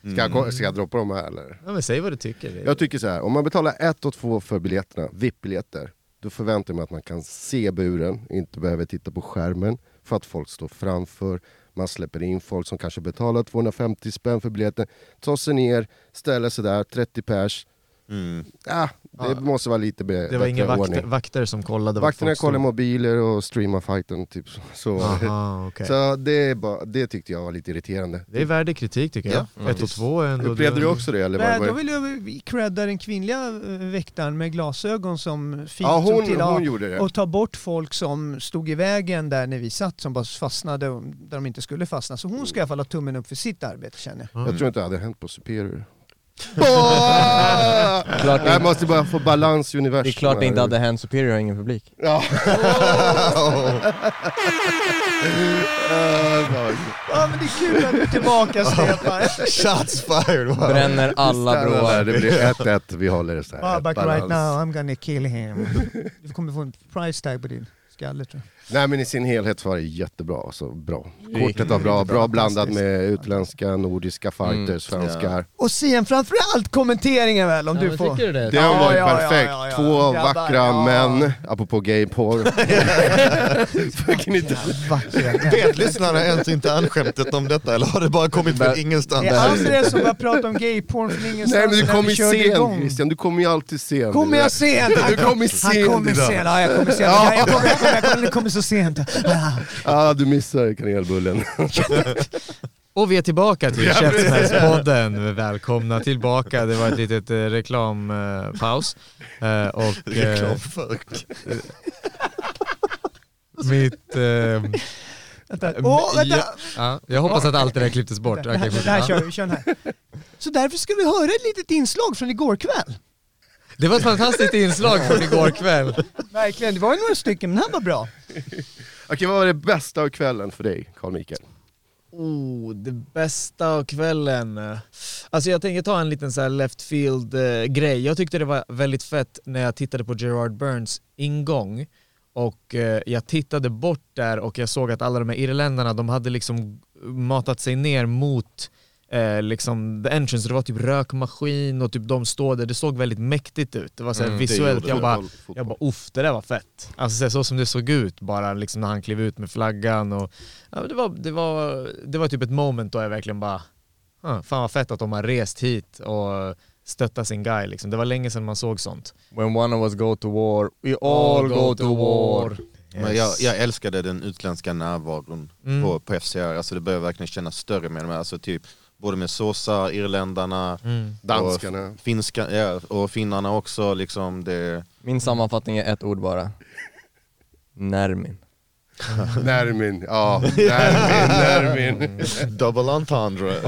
Ska, jag, ko- ska jag droppa de här eller?
Ja, men säg vad du tycker.
Jag tycker så här, om man betalar 1 och 2 för biljetterna, VIP-biljetter, då förväntar jag mig att man kan se buren, inte behöver titta på skärmen för att folk står framför. Man släpper in folk som kanske betalar 250 spänn för biljetten, tar sig ner, ställer sig där, 30 pers.
Mm.
Ah, det måste vara lite be-
det var
bättre
inga vakter,
ordning.
vakter som kollade vart
Vakterna
folk stod.
kollar mobiler och streamar fighten, typ så. så. var det.
Aha, Ah, okej.
Så det, är bara, det tyckte jag var lite irriterande.
Det är värdig kritik tycker jag.
Ja,
Ett och två är ändå...
Upplevde du också det? Eller var,
Nej,
var,
då vill jag credda den kvinnliga eh, väktaren med glasögon som fint
ja,
såg
hon,
till
hon
ja,
gjorde det.
och ta bort folk som stod i vägen där när vi satt som bara fastnade och-
Mm.
där de inte skulle fastna. Så hon ska i alla fall ha tummen upp för sitt arbete känner jag.
Jag tror inte det hade hänt på Superior.
Klart det
Jag
inte-
måste bara få balans i universum.
Det är klart det inte hade hänt Superior och ingen publik.
Ja.
Ja, men det är kul att du är tillbaka Stefan.
Shots fired! Wow.
Bränner alla broar.
Det blir 1-1, vi håller det så här.
Babak
Balans.
right now, I'm gonna kill him. Du kommer få en price tag på din skalle tror jag.
Nej men i sin helhet var det jättebra. Alltså, bra.
gick
Kortet var bra, bra blandat
fantastiskt. Mm.
med utländska, nordiska fighters, svenskar.
Och sen framförallt kommenteringen väl om du får.
Tycker du det?
Den
Ja,
var ju
ja, ja,
perfekt.
ja, ja.
Två
Grabbar,
vackra
ja.
män, apropå gayporr. Fucking inte.
Alltså, Vackra.
Vet lyssnarna ens inte allskämtet om detta eller har det bara kommit från ingenstans?
Det är Andres som börjar prata om gayporn från ingenstans.
Nej men du
när
kommer
vi
ju
körde
sen
igång.
Christian, du kommer ju alltid sen.
Kommer jag sent?
Du kommer
Han
sent
kommer
idag.
sent. Ja, jag kommer sent. Ja. Jag, kommer, jag, kommer, jag, kommer, jag kommer så sent. Ah.
Ah, du missar kanelbullen.
Och vi är tillbaka till Käftsmällspodden. Välkomna tillbaka. Det var ett litet eh, reklampaus. Eh, och eh, mitt... Eh,
Vänta. Åh, vänta.
Ja, ja, jag hoppas att allt det där klipptes bort.
Det här,
Okej, fortsätt.
det här
Ja.
kör vi, vi kör den här. Så därför ska vi höra ett litet inslag från igår kväll.
Det var ett fantastiskt inslag från igår kväll.
Verkligen, det var ju några stycken men den här var bra.
Okej, vad var det bästa av kvällen för dig, Carl Mikael?
Oh, det bästa av kvällen. Alltså jag tänker ta en liten så här left field eh, grej. Jag tyckte det var väldigt fett när jag tittade på Gerard Burns ingång och eh, jag tittade bort där och jag såg att alla de här irländarna de hade liksom matat sig ner mot eh, liksom the entrance. Det var typ rökmaskin och typ de står där. Det såg väldigt mäktigt ut. Mm, Det var så här visuellt. Jag bara, jag bara uff, det där var fett. Alltså så- så som det såg ut bara liksom när han klev ut med flaggan och ja, men det, var, det, var, det var typ ett moment då jag verkligen bara, "Ah, fan vad fett att de har rest hit och stöttat sin guy liksom. Det var länge sedan man såg sånt.
When one of us go to war, we all go to war.
Men jag, jag älskade den utländska närvaron
Mm.
på, på FCR, alltså det börjar verkligen kännas större med dem, alltså typ både med såsar, irländarna,
Mm.
Danskarna.
och, finska, ja, och finnarna också liksom det,
Min sammanfattning är ett ord bara. Närmin.
Närmin, ja. Närmin, närmin.
Double entendre!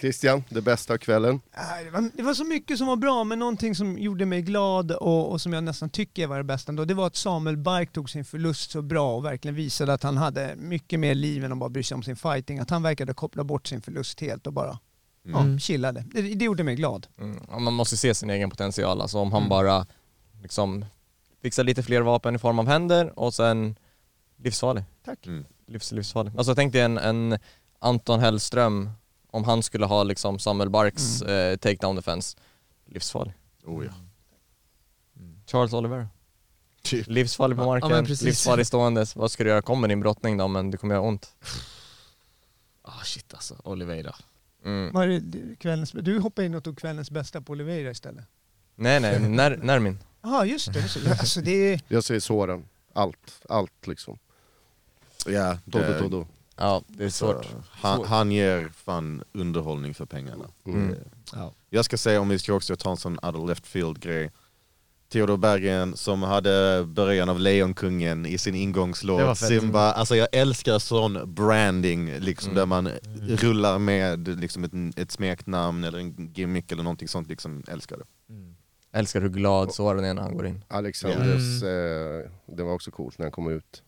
Christian, det bästa av kvällen?
Nej, Det var, det var så mycket som var bra, men någonting som gjorde mig glad och, och som jag nästan tycker var det bästa ändå, det var att Samuel Bark tog sin förlust så bra och verkligen visade att han hade mycket mer liv än att bara bry sig om sin fighting. Att han verkade koppla bort sin förlust helt och bara
Mm.
ja, chillade. Det, det gjorde mig glad.
Mm. Ja, Man måste se sin egen potential, alltså om han bara liksom fixar lite fler vapen i form av händer och sen livsfarlig.
Tack.
Mm.
Livs, livsfarlig. Alltså tänk dig en, en Anton Hellström, om han skulle ha liksom Samuel Barks
Mm.
eh, takedown defense, livsfarlig.
Oh, ja.
Charles Oliver.
Typ.
Livsfarlig på
Mm. Ja,
marken,
men precis.
livsfarlig ståendes. Vad ska du göra? Kommer din brottning då, men det kommer göra ont.
Ah shit alltså, Oliveira.
Mm.
Var det kvällens, du hoppade in och tog kvällens bästa på Oliveira istället.
Nej nej, när, Närmin.
Ja, just det. det. är så- Alltså, det är,
Jag säger såren. Allt, allt liksom. Eh,
Ja,
Todo,
det,
todo.
Ja, det är svårt.
han, han ger fan underhållning för pengarna.
eh,
Mm.
Ja.
Jag ska säga om vi ska också ta en sån other left field grej. Theodor Berggren som hade början av Lejonkungen i sin
Det var
ingångslåt,
fett.
Simba. Alltså jag älskar sån branding, liksom,
Mm.
där man rullar med liksom, ett, ett smeknamn eller en gimmick eller någonting sånt. Liksom, älskar det.
Mm.
Älskar hur glad Soran är när han går in.
Mm.
Alexanders, eh, det var också coolt när han kom ut.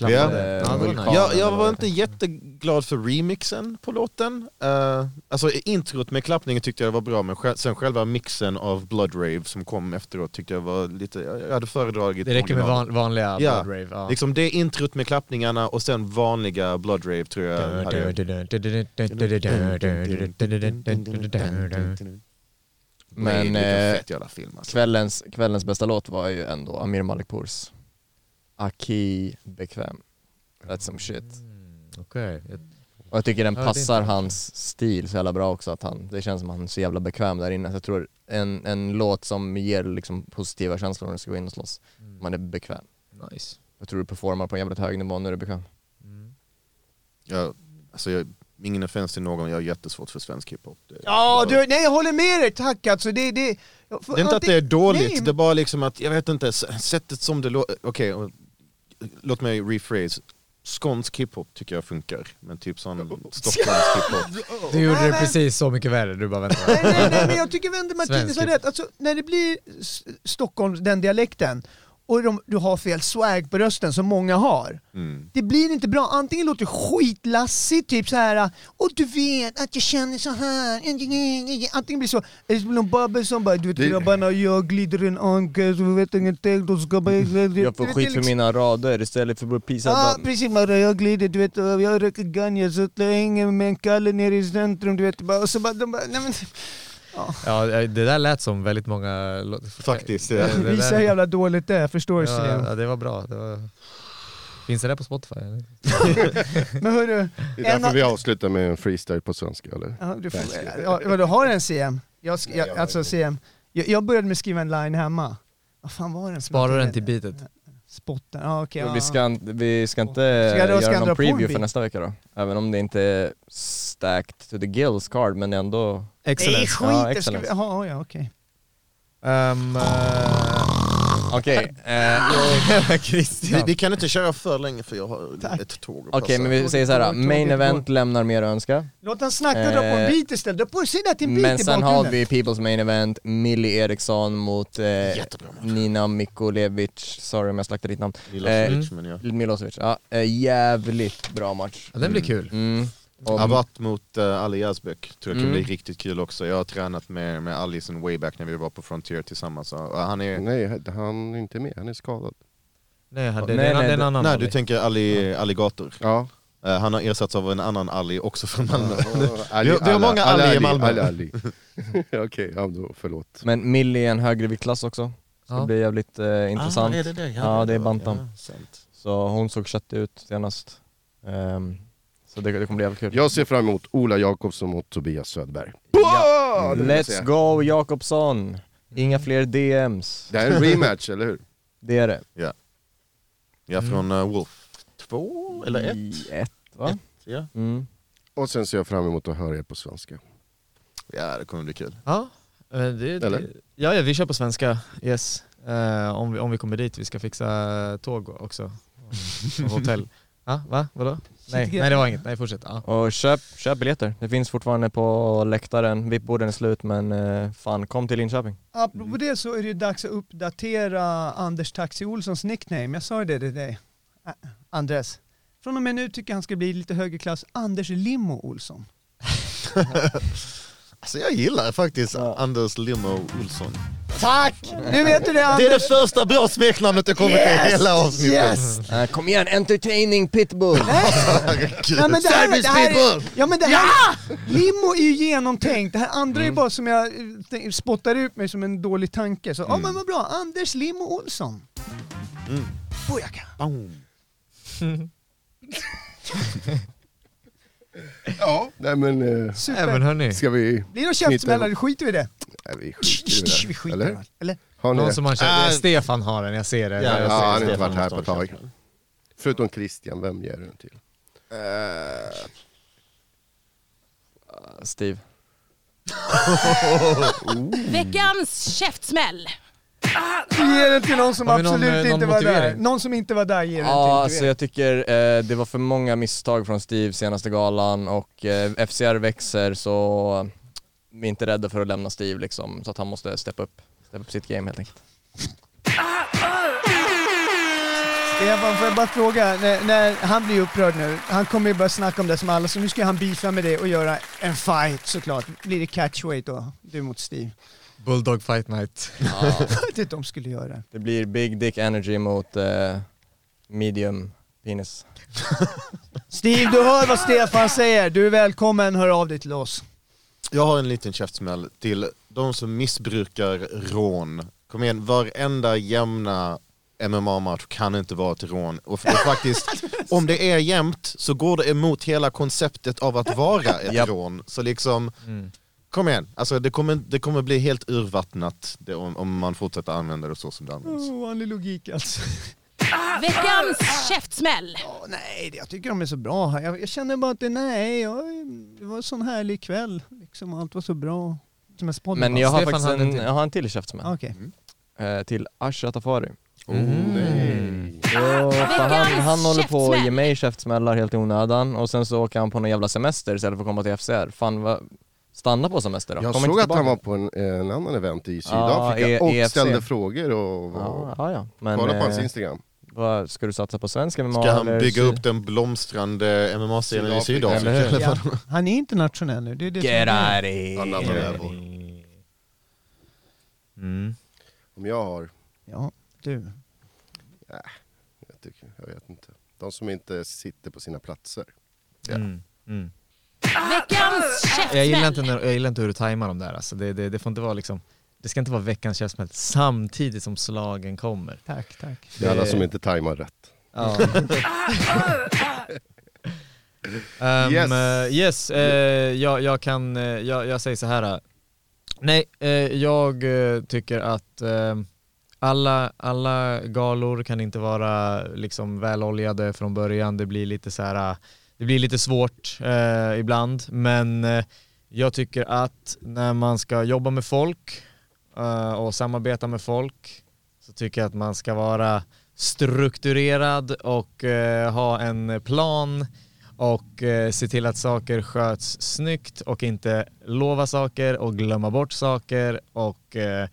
Ja.
Ja, det var nice.
Mm. Jag, jag var inte jätteglad för remixen på låten. Eh, alltså introt med klappningen tyckte jag var bra, men sj- sen själva mixen av Blood Rave som kom efteråt tyckte jag var lite, jag hade föredragit
Det räcker med
originalet.
van, vanliga
Ja.
blood rave. Ja.
Liksom det introt med klappningarna och sen vanliga Blood Rave tror jag hade...
Men
det är en
eh,
fett jävla film alltså.
kvällens, kvällens bästa låt var ju ändå Amir Malikpours Aki Bekväm. That's some shit.
Okej.
Och jag tycker den
Ja, det är
passar
inte-
hans stil så jävla bra också, att han, det känns som att han är så jävla bekväm där inne. Så jag tror en, en låt som ger liksom positiva känslor när du ska gå in och slåss, man är bekväm.
Nice.
Jag tror du performar på en jävligt hög nivå när du är bekväm.
Jag, alltså jag, ingen offense till någon, jag har jättesvårt för svensk hiphop. Det,
ja,
det,
du, nej, jag håller med dig. Tack alltså. Det, det, jag får
det är inte att det är
alltid-
dåligt,
nej,
det är bara liksom att, jag vet inte, s- sättet som det låter... Okej, och- låt mig rephrase. skånsk hiphop tycker jag funkar, men typ sån stockholmsk hiphop.
Du gjorde
Nej,
det
men-
precis så mycket värre, du bara vänta.
Nej, nej, nej, men jag tycker Wende Martinez har
Svensk.
rätt. Alltså, när det blir S- Stockholm, den dialekten, och de, du har fel swag på rösten som många har.
Mm.
Det blir inte bra. Antingen låter det skitlassigt, typ så här. och du vet att jag känner så här. Antingen blir det så, eller så blir det någon babbel som bara, du vet
Det-
grabbarna, jag glider en anka, så vet ingenting, de ska bara...
Jag får skit
liksom-
för mina rader istället för att bli
Ja
pisad
ah,
av...
precis, man, jag glider, du vet, och jag röker ganja, så jag hänger med en kalle nere i centrum, du vet, bara, och så bara, de bara, nej men...
Ja, eh, det där lät som väldigt många låt-
Faktiskt,
Det-
ja.
det
Visa hur
där-
jävla dåligt det är, förstår du?
ja,
Ja.
ja, det var bra. Det var... Finns det där på Spotify? Eller?
Men hörru,
Det är
en
därför
av,
vi avslutar med en freestyle på svenska eller?
ja, du får, ja, vadå, har du en CM? Jag, sk- jag, alltså CM, jag, jag började med att skriva en line hemma. Vad fan var den? för
Sparar
någonting?
den till beatet.
Spotten, ja okej.
Vi
ja.
ska, inte- vi ska inte
Ska jag då- ska jag
göra
dra
någon
på en
preview
bit?
för nästa vecka då. Även om det inte är stacked to the gills card, men ändå...
Nej skit,
Ja,
det ska vi,
excellence.
ja, ja okej.
Um,
Okej, eh,
Vi, vi kan inte köra för länge för jag har ett tåg att
okej,
passa.
men vi säger så här.
Tåget, tåget,
main
tåget.
event lämnar mer att önska.
Låt han snacka och dra på en
Eh,
beat istället, dra på, säg det till en beat
Men
i
sen har
bakgrunden.
vi People's Main Event, Millie Eriksson mot eh, Nina Mikulevic, sorry om jag slaktade ditt namn.
Lilla
Eh,
Felix, men jag.
Milosevic, ja. Eh, jävligt bra match.
ja, den blir kul.
Mm. Och,
Avat mot eh, Ali Yazbek tror jag kan
Mm.
bli riktigt kul också. Jag har tränat med, med Ali sen way back när vi var på Frontier tillsammans. Och eh, han är...
Nej, han är inte med, han är skadad.
Nej, det,
Nej,
det, det
nej,
är en
det-
annan
Nej,
Ali.
du tänker Ali, Alligator.
Ja.
Eh, han har ersatts av en annan Ali också från Malmö.
Ali,
Vi har- vi har
alla-
många Ali i Malmö.
Ali, Ali. Okej, ja, då, förlåt.
men Millie är en högre viktklass också. Det
Ja.
blir jävligt eh, intressant.
Ah, är det det?
Ja, det är Bantam.
Ja, sant.
Så hon såg köttig ut senast. Ehm, så det, det kommer bli jävligt kul.
Jag ser fram emot Ola Jakobsson mot Tobias Söderberg.
Ja.
det vill jag
Let's
säga.
go Jakobsson! Inga fler DMs.
Det här är en rematch, eller hur?
Det är det.
Ja, från eh, Wolf 2 eller 1.
I ett, va?
Ja.
Mm.
Och sen ser jag fram emot att höra er på svenska.
ja, det kommer bli kul.
Ja, men det, det,
Eller?
ja, ja, vi kör på svenska. Yes. Eh, om, vi, om vi kommer dit, vi ska fixa eh, tåg också. Och hotell. Ja, va? Vadå? Nej, nej, det var inget. Nej, fortsätt. Ja.
Och köp, köp biljetter. Det finns fortfarande på läktaren. VIP-borden är slut men eh, fan kom till Linköping.
Apropå
Mm.
det så är det ju dags att uppdatera Anders Taxi Olssons nickname. Jag sa ju det till dig. Ä- Andres. Från och med nu tycker jag han ska bli lite högre klass. Anders Limo Olsson.
Alltså jag gillar faktiskt Anders Limo Olsson.
Nu vet du det
Det är
Anders!
det första bra smeknamnet jag kommit yes! i hela avsnittet.
Yes!
Eh, kom igen, entertaining pitbull!
Ja men det här, det här är, ja, men det här, Limo är ju genomtänkt. Det här andra
Mm.
är bara som jag eh, tänk- spottar ut mig som en dålig tanke. Så, ja
Mm.
men vad bra. Anders Limo Olsson. Bojaka.
Ja. Nej men, eh,
Nej, men
Super.
hörni,
ska vi...
Blir det någon
Knyta
käftsmällar,
ihop.
skiter vi i det.
Nej, vi skiter i
Vi
det där.
skiter i det.
Eller?
Eller?
Har ni
någon
det?
som har kört, Stefan har den, jag ser det.
Ja,
jag
han
ser
har inte
Stefan
varit här på ett
måste ha
tag. Förutom Christian, vem ger du den till?
Steve.
Veckans käftsmäll.
Ge den till någon som
Har vi någon,
absolut
eh, någon
inte var där.
motivering?
Någon som inte var där ger den
Ja,
till.
alltså
du vet.
jag tycker eh, det var för många misstag från Steve senaste galan och eh, FCR växer så eh, vi är inte rädda för att lämna Steve liksom så att han måste steppa upp, steppa upp sitt game helt enkelt.
Stefan, får jag bara fråga, när, när han blir upprörd nu, han kommer ju börja snacka om det som alla, så nu ska han beefa med det och göra en fight såklart. Blir det catchweight då? Du mot Steve.
Bulldog Fight Night.
Jag vet inte om de skulle göra det.
Det blir big dick energy mot eh, medium penis.
Steve, du hör vad Stefan säger. Du är välkommen, hör av dig till oss.
Jag har en liten käftsmäll till de som missbrukar rån. Kom igen, varenda jämna MMA-match kan inte vara ett rån. Och, och faktiskt, om det är jämnt så går det emot hela konceptet av att vara ett
Japp. Mm.
rån. Så liksom, kom igen. Alltså, det, kommer, det kommer bli helt urvattnat det, om, om man fortsätter använda det så som det
Mm.
används.
Ovanlig logik alltså.
Veckans käftsmäll.
Ja, nej, det- jag tycker de är så bra här. Jag, jag känner bara att det, nej, jag, det var en sån härlig kväll. Liksom, allt var så bra. Som en
Men jag har
Stefan
faktiskt
hade
en,
en till.
jag har en till käftsmäll.
Okej.
eh, till Asha Tafari.
Mm.
Ja, för han,
Veckans
han håller på att ge
käftsmäll.
mig käftsmällar helt i onödan och sen så åker han på någon jävla semester istället för att komma till FCR. Fan vad... Stanna på semester då.
Jag
Kom inte
såg att
tillbaka.
han var på en, en annan event i
Ja,
Sydafrika
E-
och
EFC.
ställde frågor och, och
Ja, ja, ja. Men,
kolla på hans
eh,
Instagram.
vad, ska du satsa på svensk MMA?
Ska han
eller
bygga
sy-
upp den blomstrande MMA-scenen i
Sydafrika.
Sydafrika?
Eller hur?
eller?
Ja. Han är internationell nu. Det är det som
Get
är.
out of here.
Another level.
Mm.
Om jag har,
Ja, du.
jag, tycker, jag vet inte. De som inte sitter på sina platser.
Mm. Mm.
Veckans
Jag, gillar inte
käftsmäll.
när, jag gillar inte hur du tajmar dem där alltså. det, det, det får inte vara liksom det ska inte vara veckans käftsmäll samtidigt som slagen kommer.
Tack, tack.
Det är alla som inte tajmar rätt.
Ja. um,
Yes.
yes. yes eh, jag, jag kan, eh, jag, jag säger så här. eh. Nej, eh, jag eh, tycker att eh, alla, alla galor kan inte vara liksom väloljade från början. Det blir lite så här, eh, det blir lite svårt eh, ibland. Men eh, jag tycker att när man ska jobba med folk eh, och samarbeta med folk så tycker jag att man ska vara strukturerad och eh, ha en plan och eh, se till att saker sköts snyggt och inte lova saker och glömma bort saker och eh,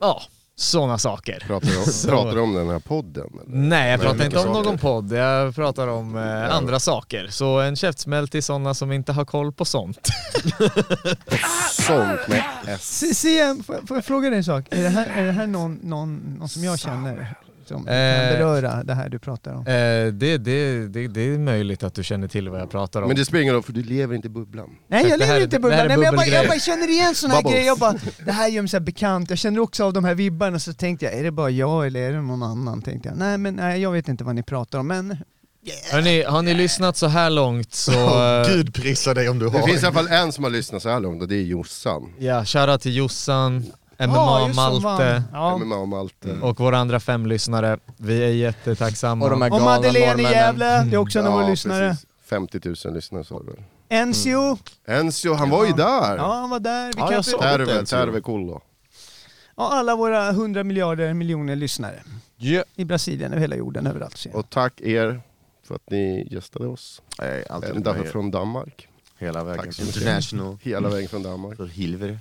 ja, sådana saker.
Pratar om,
Så-
pratar om den här podden? Eller?
Nej, jag
Nej,
pratar inte om
mycket
någon
saker.
podd. Jag pratar om eh, andra saker. Så en käftsmäll till sådana som inte har koll på sånt.
Sånt med S.
Se- Siam, får jag- får jag fråga dig en sak? Är det här, är det här någon, någon, någon som jag känner som kan
Eh.
beröra det här du pratar om?
Eh, det, det, det, det är möjligt att du känner till vad jag pratar om.
Men det spelar ingen roll för du lever inte i bubblan.
Nej jag
Det här
lever
är-
inte i
det här
bubblan,
är
Nej, men jag bara, jag
bubbelgrejer.
bara känner igen såna här
Bubbles.
grejer, jag bara, det här gör mig så här bekant, jag känner också av de här vibbarna, så tänkte jag, är det bara jag eller är det någon annan? Tänkte jag. Nej men nej, jag vet inte vad ni pratar om, men
Hörrni, har ni lyssnat så här långt så... eh,
Gud prisa dig om du
Det
har.
finns i alla fall en som har lyssnat så här långt och det är Jossan.
Ja, shoutout till Jossan,
Ja,
MMA
just som
Malte
vann. Ja.
MMA om allt. eh,
och våra andra fem lyssnare. Vi är jättetacksamma.
Och de här
Och
galna
Madeleine i
norrmännen.
Gävle, det är också en av våra lyssnare.
precis. 50 000 lyssnare sa du väl?
Enzio,
Enzio, han var ju där!
ja han var där. Vi
Ja,
kan
jag
inte...
såg.
Terve,
Enzio.
Terve Kullo.
ja, alla våra 100 miljarder miljoner lyssnare.
Ja.
I Brasilien, över hela jorden, överallt.
Och tack er för att ni gästade oss.
Nej, alltid
Ända
med er.
från Danmark.
Hela vägen.
Tack så mycket.
International.
Hela vägen från Danmark.
För Hilver.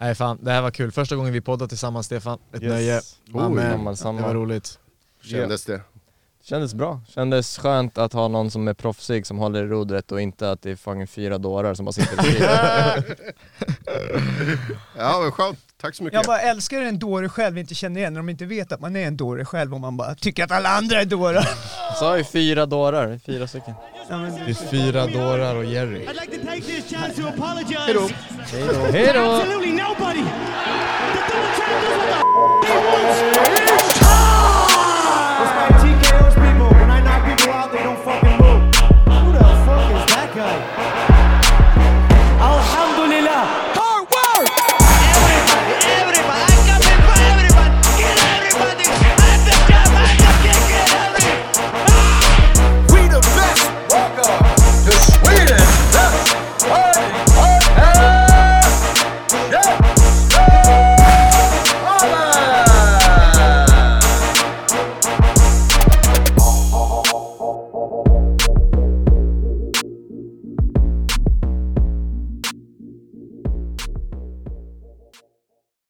Nej fan, det här var kul. Första gången vi poddade tillsammans Stefan. Ett nöje.
Samma,
Det var
samma.
roligt.
Kändes det?
Kändes bra. Kändes skönt att ha någon som är proffsig som håller i rodret och inte att det är fucking fyra dårar som bara sitter och skriver.
Ja, men skönt. Tack så mycket.
Jag bara älskar en dåre själv, inte känner igen när de inte vet att man är en dåre själv och man bara tycker att alla andra är dårar.
Sa ju fyra dårar, fyra stycken.
Ja, men
Det är fyra dårar och Jerry.
I'd like to take this chance to apologize
Hej
to
då!
absolutely nobody. The double champ does what the f- he wants. It's